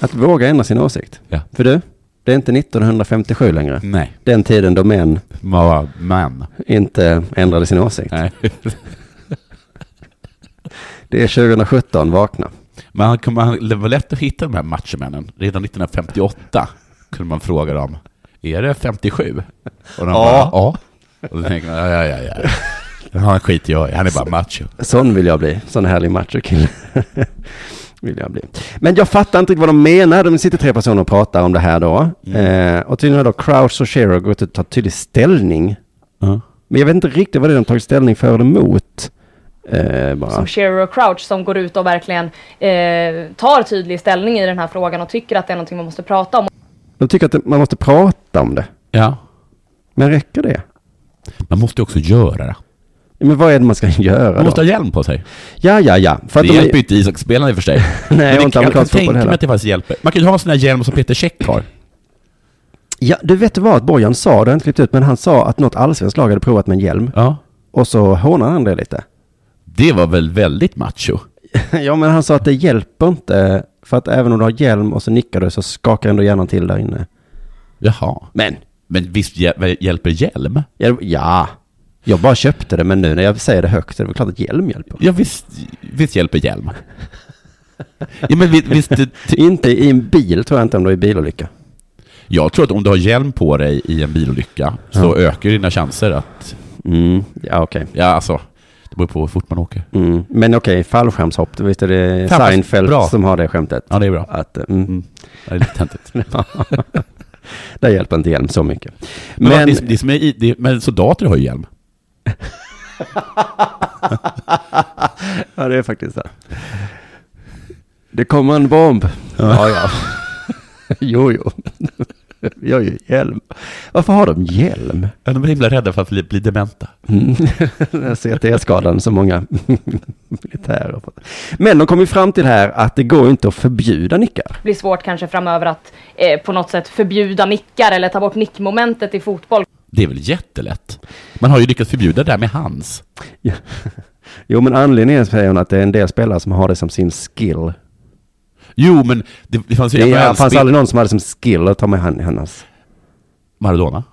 [SPEAKER 2] Att våga ändra sin åsikt.
[SPEAKER 3] Ja.
[SPEAKER 2] För du, det är inte 1957 längre.
[SPEAKER 3] Nej,
[SPEAKER 2] Den tiden då män
[SPEAKER 3] man var man.
[SPEAKER 2] inte ändrade sin åsikt.
[SPEAKER 3] Nej.
[SPEAKER 2] Det är 2017, vakna.
[SPEAKER 3] Men han kunde, han, det var lätt att hitta de här machomännen. Redan 1958 kunde man fråga dem, är det 57? Och de ja. bara, ja. Och då tänker man, ja, ja, ja. ja. Den har en skit jag i. han är bara macho.
[SPEAKER 2] Sån vill jag bli. Sån härlig machokille. vill jag bli. Men jag fattar inte riktigt vad de menar. De sitter tre personer och pratar om det här då.
[SPEAKER 3] Mm.
[SPEAKER 2] Eh, och tydligen har då Crouch och Shearer gått ut och tagit tydlig ställning. Men jag vet inte riktigt vad det är de tagit ställning för eller emot. Eh, bara.
[SPEAKER 7] som Shearer och Crouch som går ut och verkligen eh, tar tydlig ställning i den här frågan och tycker att det är någonting man måste prata om.
[SPEAKER 2] De tycker att man måste prata om det.
[SPEAKER 3] Ja.
[SPEAKER 2] Men räcker det?
[SPEAKER 3] Man måste ju också göra det.
[SPEAKER 2] Men vad är det man ska göra
[SPEAKER 3] Man måste
[SPEAKER 2] då?
[SPEAKER 3] ha hjälm på sig.
[SPEAKER 2] Ja, ja, ja. För att
[SPEAKER 3] det hjälper ju
[SPEAKER 2] de,
[SPEAKER 3] inte ishockeyspelarna i och för sig.
[SPEAKER 2] Nej, och
[SPEAKER 3] det-
[SPEAKER 2] inte
[SPEAKER 3] jag kan
[SPEAKER 2] amerikansk fotboll
[SPEAKER 3] tänka mig
[SPEAKER 2] heller.
[SPEAKER 3] att det faktiskt hjälper. Man kan ju ha en sån här hjälm som Peter Käck har.
[SPEAKER 2] ja, du vet vad att Bojan sa, det har jag inte klippt ut, men han sa att något allsvenskt lag hade provat med en hjälm.
[SPEAKER 3] Ja.
[SPEAKER 2] Och så hånade han det lite.
[SPEAKER 3] Det var väl väldigt macho?
[SPEAKER 2] Ja, men han sa att det hjälper inte. För att även om du har hjälm och så nickar du så skakar ändå hjärnan till där inne.
[SPEAKER 3] Jaha.
[SPEAKER 2] Men,
[SPEAKER 3] Men visst hjäl- hjälper hjälm?
[SPEAKER 2] hjälp- ja. Jag bara köpte det, men nu när jag säger det högt är det väl klart att hjälm hjälper.
[SPEAKER 3] Ja, visst, visst hjälper hjälm? Ja, men visst, visst, det- ty-
[SPEAKER 2] Inte i en bil tror jag inte om du är i bilolycka.
[SPEAKER 3] jag tror att om du har hjälm på dig i en bilolycka så ökar dina chanser att...
[SPEAKER 2] Mm, ja okej.
[SPEAKER 3] Ja, alltså, det beror på hur fort man åker.
[SPEAKER 2] Mm. Men okej, fallskärmshopp, visst är det
[SPEAKER 3] Fan, vad
[SPEAKER 2] Seinfeld
[SPEAKER 3] bra.
[SPEAKER 2] som har det skämtet?
[SPEAKER 3] Ja, det är bra.
[SPEAKER 2] Att, eh, mm,
[SPEAKER 3] Det är lite töntigt. Men,
[SPEAKER 2] där hjälper inte hjälm så mycket. Men,
[SPEAKER 3] men, vad- det, det som är, i- det, men soldater har ju hjälm.
[SPEAKER 2] ja, det är faktiskt så. Det kommer en bomb. Ja, ja. jo, jo. Vi har ju hjälm. Varför har de hjälm?
[SPEAKER 3] Ja, De är himla rädda för att bli, bli dementa.
[SPEAKER 2] Mm. Den här CTE-skadan som många militärer har fått. Men de kom ju fram till här att det går ju inte att förbjuda nickar.
[SPEAKER 7] blir svårt kanske framöver att eh, på något sätt förbjuda nickar eller ta bort nickmomentet i fotboll.
[SPEAKER 3] Det är väl jättelätt? Man har ju lyckats förbjuda det där med hans.
[SPEAKER 2] Ja. Jo, men anledningen säger hon att det är en del spelare som har det som sin skill.
[SPEAKER 3] Jo, men det, det fanns ju
[SPEAKER 2] Det
[SPEAKER 3] en
[SPEAKER 2] är, fanns
[SPEAKER 3] spel-
[SPEAKER 2] aldrig någon som hade som skill att ta med han, hennes.
[SPEAKER 3] Maradona.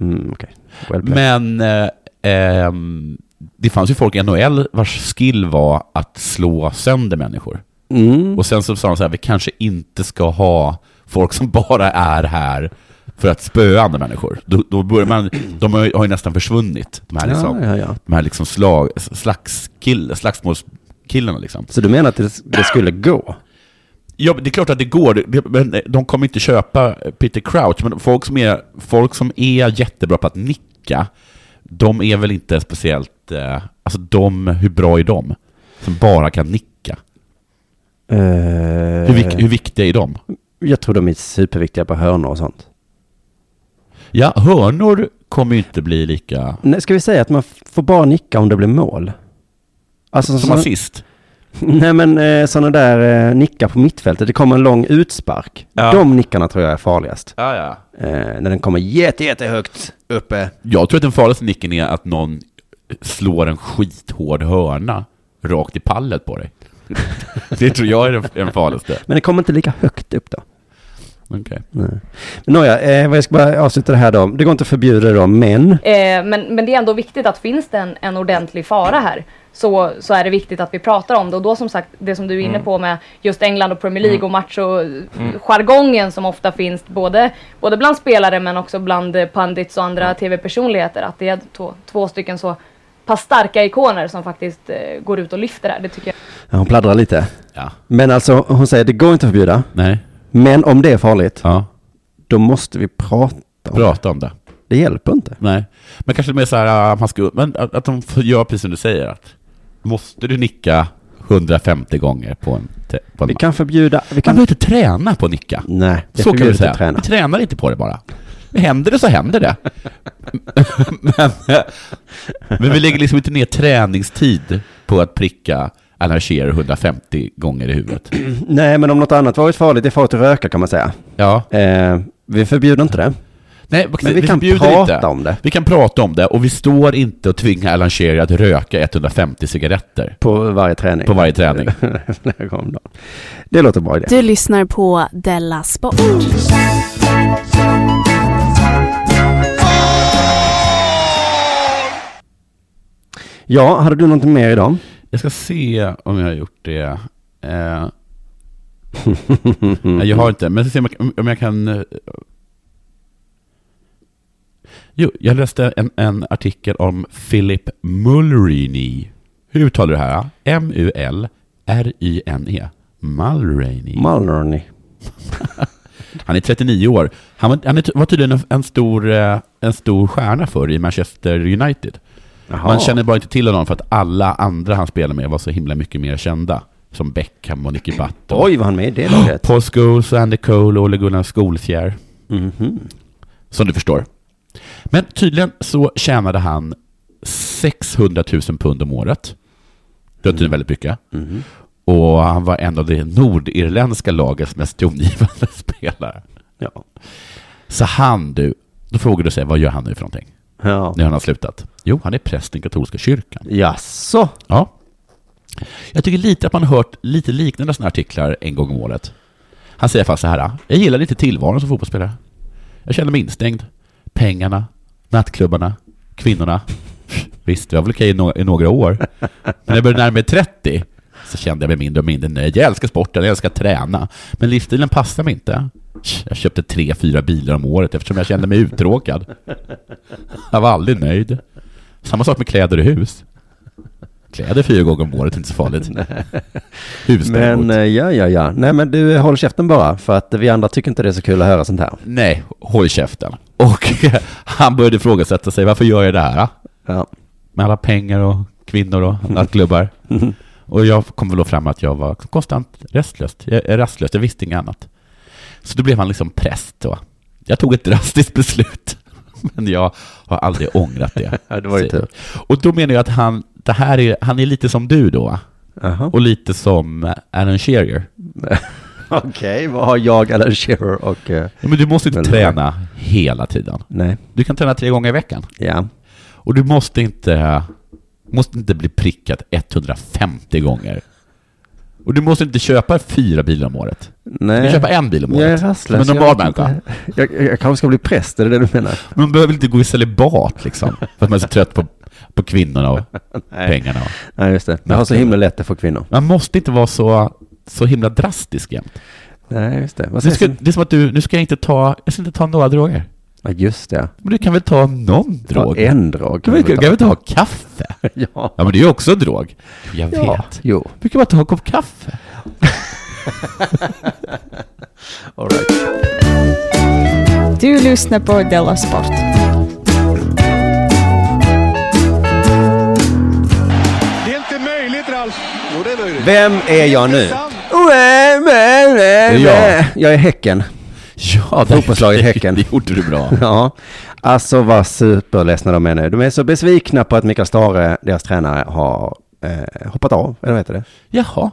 [SPEAKER 2] Mm, okej. Well played.
[SPEAKER 3] Men eh, ehm, det fanns ju folk i NHL vars skill var att slå sönder människor.
[SPEAKER 2] Mm.
[SPEAKER 3] Och sen så sa de så här, vi kanske inte ska ha folk som bara är här för att spöa andra människor. Då, då börjar man, de har ju, har ju nästan försvunnit, de här, liksom,
[SPEAKER 2] Ja, ja, ja.
[SPEAKER 3] de här liksom slag, slagskill, slagsmålskillarna liksom.
[SPEAKER 2] Så du menar att det, det skulle gå?
[SPEAKER 3] Ja, det är klart att det går, det- det- men de kommer inte köpa Peter Crouch, men folk som är, folk som är jättebra på att nicka, de är väl inte speciellt, eh, alltså de, hur bra är de? Som bara kan nicka.
[SPEAKER 2] Eh,
[SPEAKER 3] Hur, vik, hur viktiga är de?
[SPEAKER 2] Jag tror de är superviktiga på hörnor och sånt.
[SPEAKER 3] Ja, hörnor kommer ju inte bli lika
[SPEAKER 2] Nej, ska vi säga att man f- får bara nicka om det blir mål? Alltså,
[SPEAKER 3] som
[SPEAKER 2] sån-
[SPEAKER 3] assist.
[SPEAKER 2] Nej, men eh, sådana där eh, nickar på mittfältet. Det kommer en lång utspark.
[SPEAKER 3] Ja.
[SPEAKER 2] De nickarna tror jag är farligast.
[SPEAKER 3] Ja, ja.
[SPEAKER 2] Eh, när den kommer jätte, jättehögt uppe.
[SPEAKER 3] Jag tror att den farligaste nicken är att någon slår en skithård hörna rakt i pallet på dig. Det tror jag är den, den farligaste.
[SPEAKER 2] Men det kommer inte lika högt upp då.
[SPEAKER 3] Okej.
[SPEAKER 2] Men Nåja, eh, vad jag ska bara avsluta det här då. Det går inte att förbjuda dem, men...
[SPEAKER 7] Eh, men, men det är ändå viktigt att finns det en, en ordentlig fara här så, så är det viktigt att vi pratar om det. Och då som sagt, det som du är inne på med just England och Premier League och match och jargongen som ofta finns både, både bland spelare men också bland eh, pundits och andra tv-personligheter. Att det är två, två stycken så pass starka ikoner som faktiskt eh, går ut och lyfter det här. Det tycker jag.
[SPEAKER 2] Ja, hon pladdrar lite.
[SPEAKER 3] Ja.
[SPEAKER 2] Men alltså, hon säger det går inte att förbjuda.
[SPEAKER 3] Nej.
[SPEAKER 2] Men om det är farligt,
[SPEAKER 3] Ja.
[SPEAKER 2] då måste vi prata om det.
[SPEAKER 3] Prata om det.
[SPEAKER 2] Det hjälper inte.
[SPEAKER 3] Nej. Men kanske mer så här, äh, man ska, men att, att de får göra precis som du säger. Att, måste du nicka 150 gånger på en, te- på en
[SPEAKER 2] Vi
[SPEAKER 3] match?
[SPEAKER 2] kan förbjuda... Vi
[SPEAKER 3] Man
[SPEAKER 2] kan...
[SPEAKER 3] behöver inte träna på att nicka.
[SPEAKER 2] Nej, det
[SPEAKER 3] Så kan vi
[SPEAKER 2] förbjudet
[SPEAKER 3] säga.
[SPEAKER 2] att träna.
[SPEAKER 3] Vi tränar inte på det bara. Händer det så händer det. men, men vi lägger liksom inte ner träningstid på att pricka anarkier 150 gånger i huvudet.
[SPEAKER 2] Nej, men om något annat varit farligt, det är farligt att röka kan man säga.
[SPEAKER 3] Ja.
[SPEAKER 2] Eh, vi förbjuder inte det.
[SPEAKER 3] Nej,
[SPEAKER 2] Men vi, kan
[SPEAKER 3] förbjuder
[SPEAKER 2] prata
[SPEAKER 3] inte.
[SPEAKER 2] om det
[SPEAKER 3] Vi kan prata om det och vi står inte och tvingar Alan Shearer att röka 150 cigaretter
[SPEAKER 2] på varje träning.
[SPEAKER 3] på varje träning.
[SPEAKER 2] Flera gånger om dagen. det låter bra idé.
[SPEAKER 4] Du lyssnar på Della Sport.
[SPEAKER 2] Ja, hade du någonting mer idag?
[SPEAKER 3] Jag ska se om jag har gjort det. Eh, nej, jag har inte, men jag ska se om jag, kan- om jag kan... eh, Jo, jag läste en, en artikel om Philip Mulroney. Hur uttalar du det här? M-U-L-R-Y-N-E. E. Mulroney.
[SPEAKER 2] Mulroney.
[SPEAKER 3] Han är 39 år. Han var, han är, var tydligen en, en, stor, eh, en stor stjärna förr i Manchester United.
[SPEAKER 2] Jaha.
[SPEAKER 3] Man känner bara inte till honom för att alla andra han spelade med var så himla mycket mer kända. Som Beckham och Nicky Butt. och-
[SPEAKER 2] Oj, vad han med i det laget.
[SPEAKER 3] Paul Scholes, Andy Cole och Olle-Gunnar Skolfjär.
[SPEAKER 2] Mhm.
[SPEAKER 3] Som du förstår. Men tydligen så tjänade han 600 000 pund om året. Det var tydligen väldigt mycket. Och han var en av det nordirländska lagets mest tongivande spelare.
[SPEAKER 2] Ja.
[SPEAKER 3] Så han du, då frågar du sig, vad gör han nu för någonting?
[SPEAKER 2] Ja.
[SPEAKER 3] Nu har han slutat. Jo, han är präst i den katolska kyrkan.
[SPEAKER 2] Jaså?
[SPEAKER 3] Ja. Jag tycker lite att man har hört lite liknande sådana artiklar en gång om året. Han säger fast så här, jag gillar lite tillvaron som fotbollsspelare. Jag känner mig instängd. Pengarna, nattklubbarna, kvinnorna. Visst, det var väl okej i nå- i några år. Men när jag började närma mig 30 så kände jag mig mindre och mindre nöjd. Jag älskar sporten, jag älskar att träna. Men livsstilen passar mig inte. Jag köpte tre, fyra bilar om året eftersom jag kände mig uttråkad. Jag var aldrig nöjd. Samma sak med kläder och hus. Kläder fyra gånger om året är inte så farligt. Hus däremot.
[SPEAKER 2] Men eh, ja, ja, ja. Nej, men du eh, håll käften bara, för att vi andra tycker inte det är så kul att höra sånt här.
[SPEAKER 3] Nej, håll käften. Och han började ifrågasätta sig, varför gör jag det här? ah?
[SPEAKER 2] Ja.
[SPEAKER 3] Med alla pengar och kvinnor och nattklubbar. Och jag kom väl då fram att jag var konstant rastlös. Jag är rastlös, jag visste inget annat. Så då blev han liksom präst då. Jag tog ett drastiskt beslut, men jag har aldrig ångrat det.
[SPEAKER 2] Ja, det var ju
[SPEAKER 3] säger-
[SPEAKER 2] tur.
[SPEAKER 3] Och då menar jag att han, det här är, han är lite som du då,
[SPEAKER 2] Jaha.
[SPEAKER 3] och lite som Alan Shearer.
[SPEAKER 2] Okej, vad har jag, Alan Shearer och... eh,
[SPEAKER 3] Ja, Men du måste inte
[SPEAKER 2] Eller-
[SPEAKER 3] träna hela tiden.
[SPEAKER 2] nej,
[SPEAKER 3] Du kan träna tre gånger i veckan.
[SPEAKER 2] ja.
[SPEAKER 3] Och du måste inte, måste inte bli prickad 150 gånger. Och du måste inte köpa fyra bilar om året. Du
[SPEAKER 2] Nej.
[SPEAKER 3] kan köpa en bil om
[SPEAKER 2] Jag är
[SPEAKER 3] året.
[SPEAKER 2] rastlös.
[SPEAKER 3] Som en normal
[SPEAKER 2] jag vet
[SPEAKER 3] människa.
[SPEAKER 2] inte. Jag, jag, jag kanske ska bli präst, är det det du menar?
[SPEAKER 3] Men man behöver inte gå i celibat liksom. För att man är så trött på, på kvinnorna och
[SPEAKER 2] Nej.
[SPEAKER 3] pengarna.
[SPEAKER 2] Nej, just det. Jag har så himla lätt att få kvinnor.
[SPEAKER 3] Man måste inte vara så, så himla drastisk jämt.
[SPEAKER 2] Nej, just det. Vad
[SPEAKER 3] Nu
[SPEAKER 2] sägs
[SPEAKER 3] ska,
[SPEAKER 2] om-
[SPEAKER 3] det är som att du, nu ska jag inte ta, jag ska inte ta några droger.
[SPEAKER 2] Ja, just det.
[SPEAKER 3] Men du kan väl ta någon
[SPEAKER 2] Drog.
[SPEAKER 3] drog?
[SPEAKER 2] En drog.
[SPEAKER 3] Du kan väl- kan väl inte ha kaffe?
[SPEAKER 2] Ja.
[SPEAKER 3] Ja, men det är ju också en drog. Jag
[SPEAKER 2] ja.
[SPEAKER 3] vet.
[SPEAKER 2] Jo.
[SPEAKER 3] Du kan bara ta en kopp kaffe.
[SPEAKER 2] All right.
[SPEAKER 8] Du lyssnar på Della Sport.
[SPEAKER 1] Det är inte möjligt, Ralf. Jo, det är möjligt.
[SPEAKER 2] Vem är jag nu? Vem är
[SPEAKER 3] är jag.
[SPEAKER 2] Jag är Häcken.
[SPEAKER 3] Ja,
[SPEAKER 2] Fotbollslaget Häcken.
[SPEAKER 3] Det gjorde du bra.
[SPEAKER 2] Ja, alltså vad superledsna de är nu. De är så besvikna på att Mikael Stare, deras tränare, har eh, hoppat av, eller vad heter det?
[SPEAKER 3] Jaha.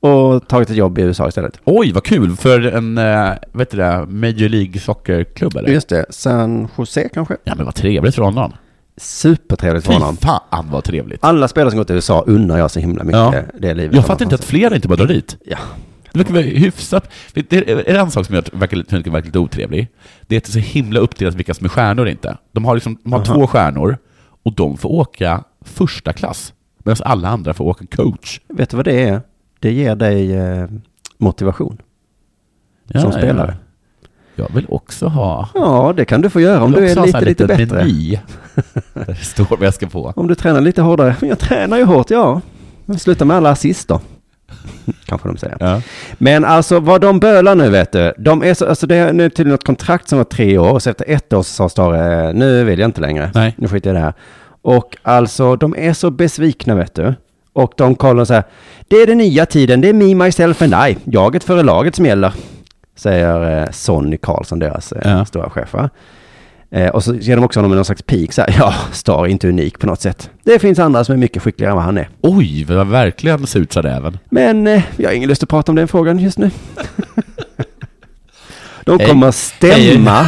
[SPEAKER 2] Och tagit ett jobb i USA istället.
[SPEAKER 3] Oj, vad kul för en, eh, vet du det, Major League Soccer-klubb eller?
[SPEAKER 2] Just det, San Jose kanske?
[SPEAKER 3] Ja, men vad trevligt för honom.
[SPEAKER 2] Supertrevligt för
[SPEAKER 3] Fy
[SPEAKER 2] honom.
[SPEAKER 3] fan vad trevligt.
[SPEAKER 2] Alla spelare som gått till USA unnar jag så himla mycket
[SPEAKER 3] Ja.
[SPEAKER 2] det livet.
[SPEAKER 3] Jag fattar inte att fler inte bara drar dit.
[SPEAKER 2] Ja.
[SPEAKER 3] Det verkar vara hyfsat. Det är är det en sak som jag verkar lite, verkar lite otrevlig. Det är att det är så himla uppdelat vilka som är stjärnor och inte. De har, liksom, de har två stjärnor och de får åka första klass. Medan alla andra får åka coach.
[SPEAKER 2] Vet du vad det är? Det ger dig eh, motivation
[SPEAKER 3] Ja,
[SPEAKER 2] som
[SPEAKER 3] ja.
[SPEAKER 2] spelare.
[SPEAKER 3] Jag vill också ha...
[SPEAKER 2] Ja, det kan du få göra om
[SPEAKER 3] jag
[SPEAKER 2] du
[SPEAKER 3] vill
[SPEAKER 2] är
[SPEAKER 3] också ha så
[SPEAKER 2] lite,
[SPEAKER 3] här liten
[SPEAKER 2] lite bättre.
[SPEAKER 3] Meny. Där det står vad jag ska få.
[SPEAKER 2] Om du tränar lite hårdare. Men jag tränar ju hårt, ja. Men sluta med alla assist då. Kanske de säger.
[SPEAKER 3] Ja.
[SPEAKER 2] Men alltså vad de bölar nu vet du. De är så, alltså det är nu till något kontrakt som var tre år och så efter ett år så sa Stare, "Eh, nu vill jag inte längre.
[SPEAKER 3] Nej.
[SPEAKER 2] Nu skiter jag i det här. Och alltså de är så besvikna vet du. Och de kollar så här, det är den nya tiden, det är me, myself and I, jaget före laget som gäller. Säger eh, Sonny Karlsson, deras eh,
[SPEAKER 3] Ja.
[SPEAKER 2] stora chef va? Eh, och så ger de också honom någon slags pik så här, ja, Star är inte unik på något sätt. Det finns andra som är mycket skickligare än vad han är.
[SPEAKER 3] Oj, vad jag verkligen sutsade även.
[SPEAKER 2] Men eh, jag har ingen lust att prata om den frågan just nu. De
[SPEAKER 3] Hej.
[SPEAKER 2] kommer stämma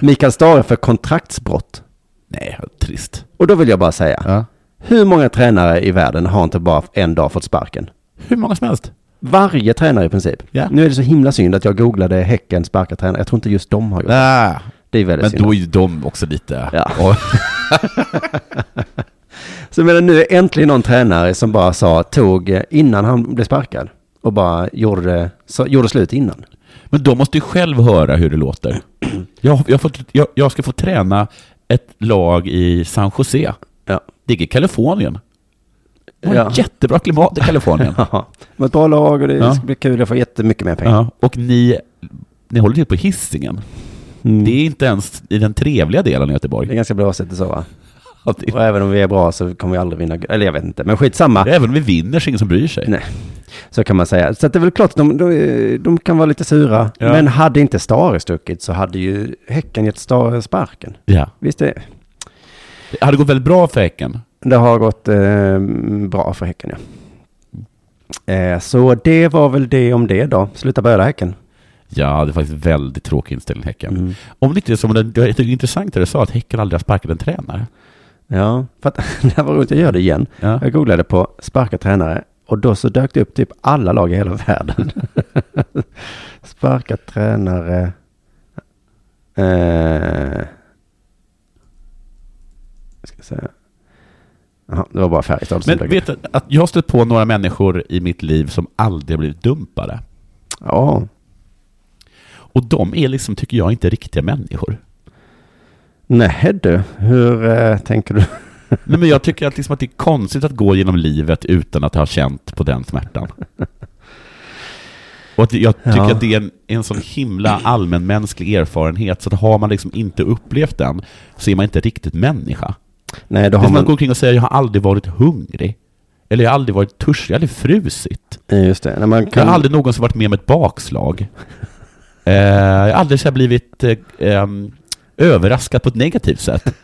[SPEAKER 2] Mikael Stare för kontraktsbrott.
[SPEAKER 3] Nej, vad trist.
[SPEAKER 2] Och då vill jag bara säga,
[SPEAKER 3] Ja.
[SPEAKER 2] hur många tränare i världen har inte bara en dag fått sparken?
[SPEAKER 3] Hur många som helst.
[SPEAKER 2] Varje tränare i princip.
[SPEAKER 3] Ja.
[SPEAKER 2] Nu är det så himla synd att jag googlade Häcken sparkar tränare. Jag tror inte just de har gjort det.
[SPEAKER 3] Nej,
[SPEAKER 2] Det är väldigt
[SPEAKER 3] men
[SPEAKER 2] synd.
[SPEAKER 3] då är ju de också lite...
[SPEAKER 2] Ja.
[SPEAKER 3] Och,
[SPEAKER 2] Så jag menar, nu är äntligen någon tränare som bara sa, tog eh, innan han blev sparkad. Och bara gjorde, så, gjorde slut innan.
[SPEAKER 3] men de måste ju själv höra hur det låter. Jag, jag, får, jag, jag ska få träna ett lag i San Jose.
[SPEAKER 2] Ja.
[SPEAKER 3] Det ligger i Kalifornien. De har
[SPEAKER 2] Ja.
[SPEAKER 3] jättebra klimat i Kalifornien.
[SPEAKER 2] Jaha. Det var ett bra lag och det
[SPEAKER 3] Ja.
[SPEAKER 2] ska bli kul. Jag får jättemycket mer pengar.
[SPEAKER 3] ja. Och ni, ni håller till på hissingen.
[SPEAKER 2] Mm.
[SPEAKER 3] Det är inte ens i den trevliga delen i
[SPEAKER 2] Det är
[SPEAKER 3] Göteborg.
[SPEAKER 2] ganska blåsigt och så va?
[SPEAKER 3] Ja, det-
[SPEAKER 2] Och även om vi är bra så kommer vi aldrig vinna, eller jag vet inte, men skitsamma.
[SPEAKER 3] Även om vi vinner så är det ingen som bryr sig.
[SPEAKER 2] Nej. Så kan man säga. Så att det är väl klart, de, de, de kan vara lite sura.
[SPEAKER 3] Ja.
[SPEAKER 2] Men hade inte Stare stuckit så hade ju Häcken gett Stare sparken.
[SPEAKER 3] Ja.
[SPEAKER 2] Visst det,
[SPEAKER 3] Det hade gått väldigt bra för Häcken.
[SPEAKER 2] det har gått eh, bra för Häcken ja. Eh, så det var väl det om det då. Sluta böla Häcken.
[SPEAKER 3] Ja, det är faktiskt väldigt tråkig inställning, Häcken.
[SPEAKER 2] Mm.
[SPEAKER 3] Om det inte är som den, det är intressant det du sa, att Häcken aldrig har sparkat en tränare.
[SPEAKER 2] Ja, för att det här var roligt, jag gör det igen.
[SPEAKER 3] Ja.
[SPEAKER 2] Jag googlade på sparka tränare och då så dök det upp typ alla lag i hela världen. sparka tränare. Eh. Ska jag säga. Jaha, det var bara Färjestad som
[SPEAKER 3] Men
[SPEAKER 2] dök
[SPEAKER 3] vet
[SPEAKER 2] upp.
[SPEAKER 3] du, att jag har stött på några människor i mitt liv som aldrig har blivit dumpade.
[SPEAKER 2] Ja,
[SPEAKER 3] Och de är liksom, tycker jag, inte riktiga människor.
[SPEAKER 2] nej du, hur eh, tänker du?
[SPEAKER 3] Nej, men jag tycker att, liksom att det är konstigt att gå genom livet utan att ha känt på den smärtan. Och att jag tycker
[SPEAKER 2] Ja.
[SPEAKER 3] att det är en, en sån himla allmänmänsklig erfarenhet, så att har man liksom inte upplevt den, så är man inte riktigt människa.
[SPEAKER 2] Nej, då
[SPEAKER 3] Det är
[SPEAKER 2] har
[SPEAKER 3] som att gå
[SPEAKER 2] man...
[SPEAKER 3] omkring och säga jag har aldrig varit hungrig. Eller jag har aldrig varit törstig, jag har aldrig frusit.
[SPEAKER 2] eh, Just det, när man
[SPEAKER 3] Jag
[SPEAKER 2] kan...
[SPEAKER 3] har aldrig någonsin varit med om ett bakslag. Eh, jag har aldrig så här blivit eh, ehm, överraskad på ett negativt sätt.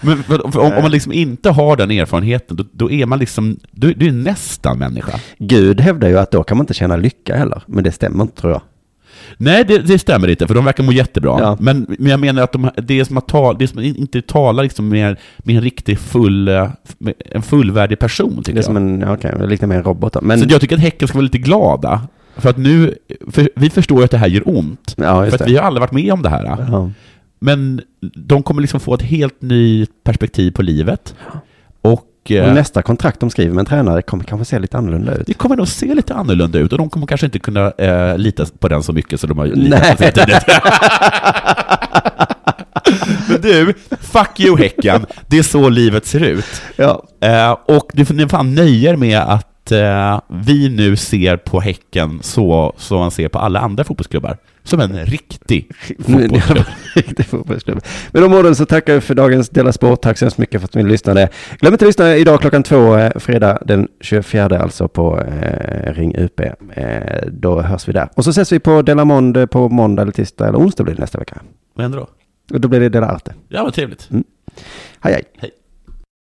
[SPEAKER 3] Men, men om, om man liksom inte har den erfarenheten, då, då är man liksom, du, du är nästan människa.
[SPEAKER 2] Gud hävdar ju att då kan man inte känna lycka heller, men det stämmer inte tror jag.
[SPEAKER 3] Nej, det, det stämmer inte, för de verkar må jättebra.
[SPEAKER 2] Ja.
[SPEAKER 3] Men, men jag menar att de, det är som att tal, det är som att inte tala liksom med, med en riktig full, eh, med en fullvärdig person, tycker
[SPEAKER 2] Det är
[SPEAKER 3] jag.
[SPEAKER 2] som en, ja, okej, det är lite mer en robot då. Men,
[SPEAKER 3] Så jag tycker att Häcken ska vara lite glada. För att nu, för vi förstår ju att det här gör ont.
[SPEAKER 2] ja,
[SPEAKER 3] för
[SPEAKER 2] just
[SPEAKER 3] att
[SPEAKER 2] det.
[SPEAKER 3] vi har aldrig varit med om det här.
[SPEAKER 2] Ja.
[SPEAKER 3] Men de kommer liksom få ett helt nytt perspektiv på livet. Och, eh,
[SPEAKER 2] Och nästa kontrakt de skriver med en tränare kommer kanske se lite annorlunda ut.
[SPEAKER 3] det kommer nog se lite annorlunda ut och de kommer kanske inte kunna eh, lita på den så mycket som de har litat
[SPEAKER 2] Nej.
[SPEAKER 3] på sig tidigt. Men du, fuck you Häcken, det är så livet ser ut.
[SPEAKER 2] Ja.
[SPEAKER 3] Eh, och du får ni får fan nöja er med att eh, vi nu ser på Häcken så som man ser på alla andra fotbollsklubbar. Som en riktig fotbollsklubb.
[SPEAKER 2] Riktig fotbollsklubb. Med de orden så tackar vi för dagens Della Sport. Tack så hemskt mycket för att ni lyssnade. Glöm inte att lyssna idag klockan två, eh, fredag den 24 alltså på eh, Ring UP. Eh, då hörs vi där. Och så ses vi på Della Monde på måndag eller tisdag eller onsdag blir det nästa vecka.
[SPEAKER 3] Vad händer då?
[SPEAKER 2] Och då blir det Della Arte.
[SPEAKER 3] Ja, vad trevligt.
[SPEAKER 2] Hej hej.
[SPEAKER 3] Hej.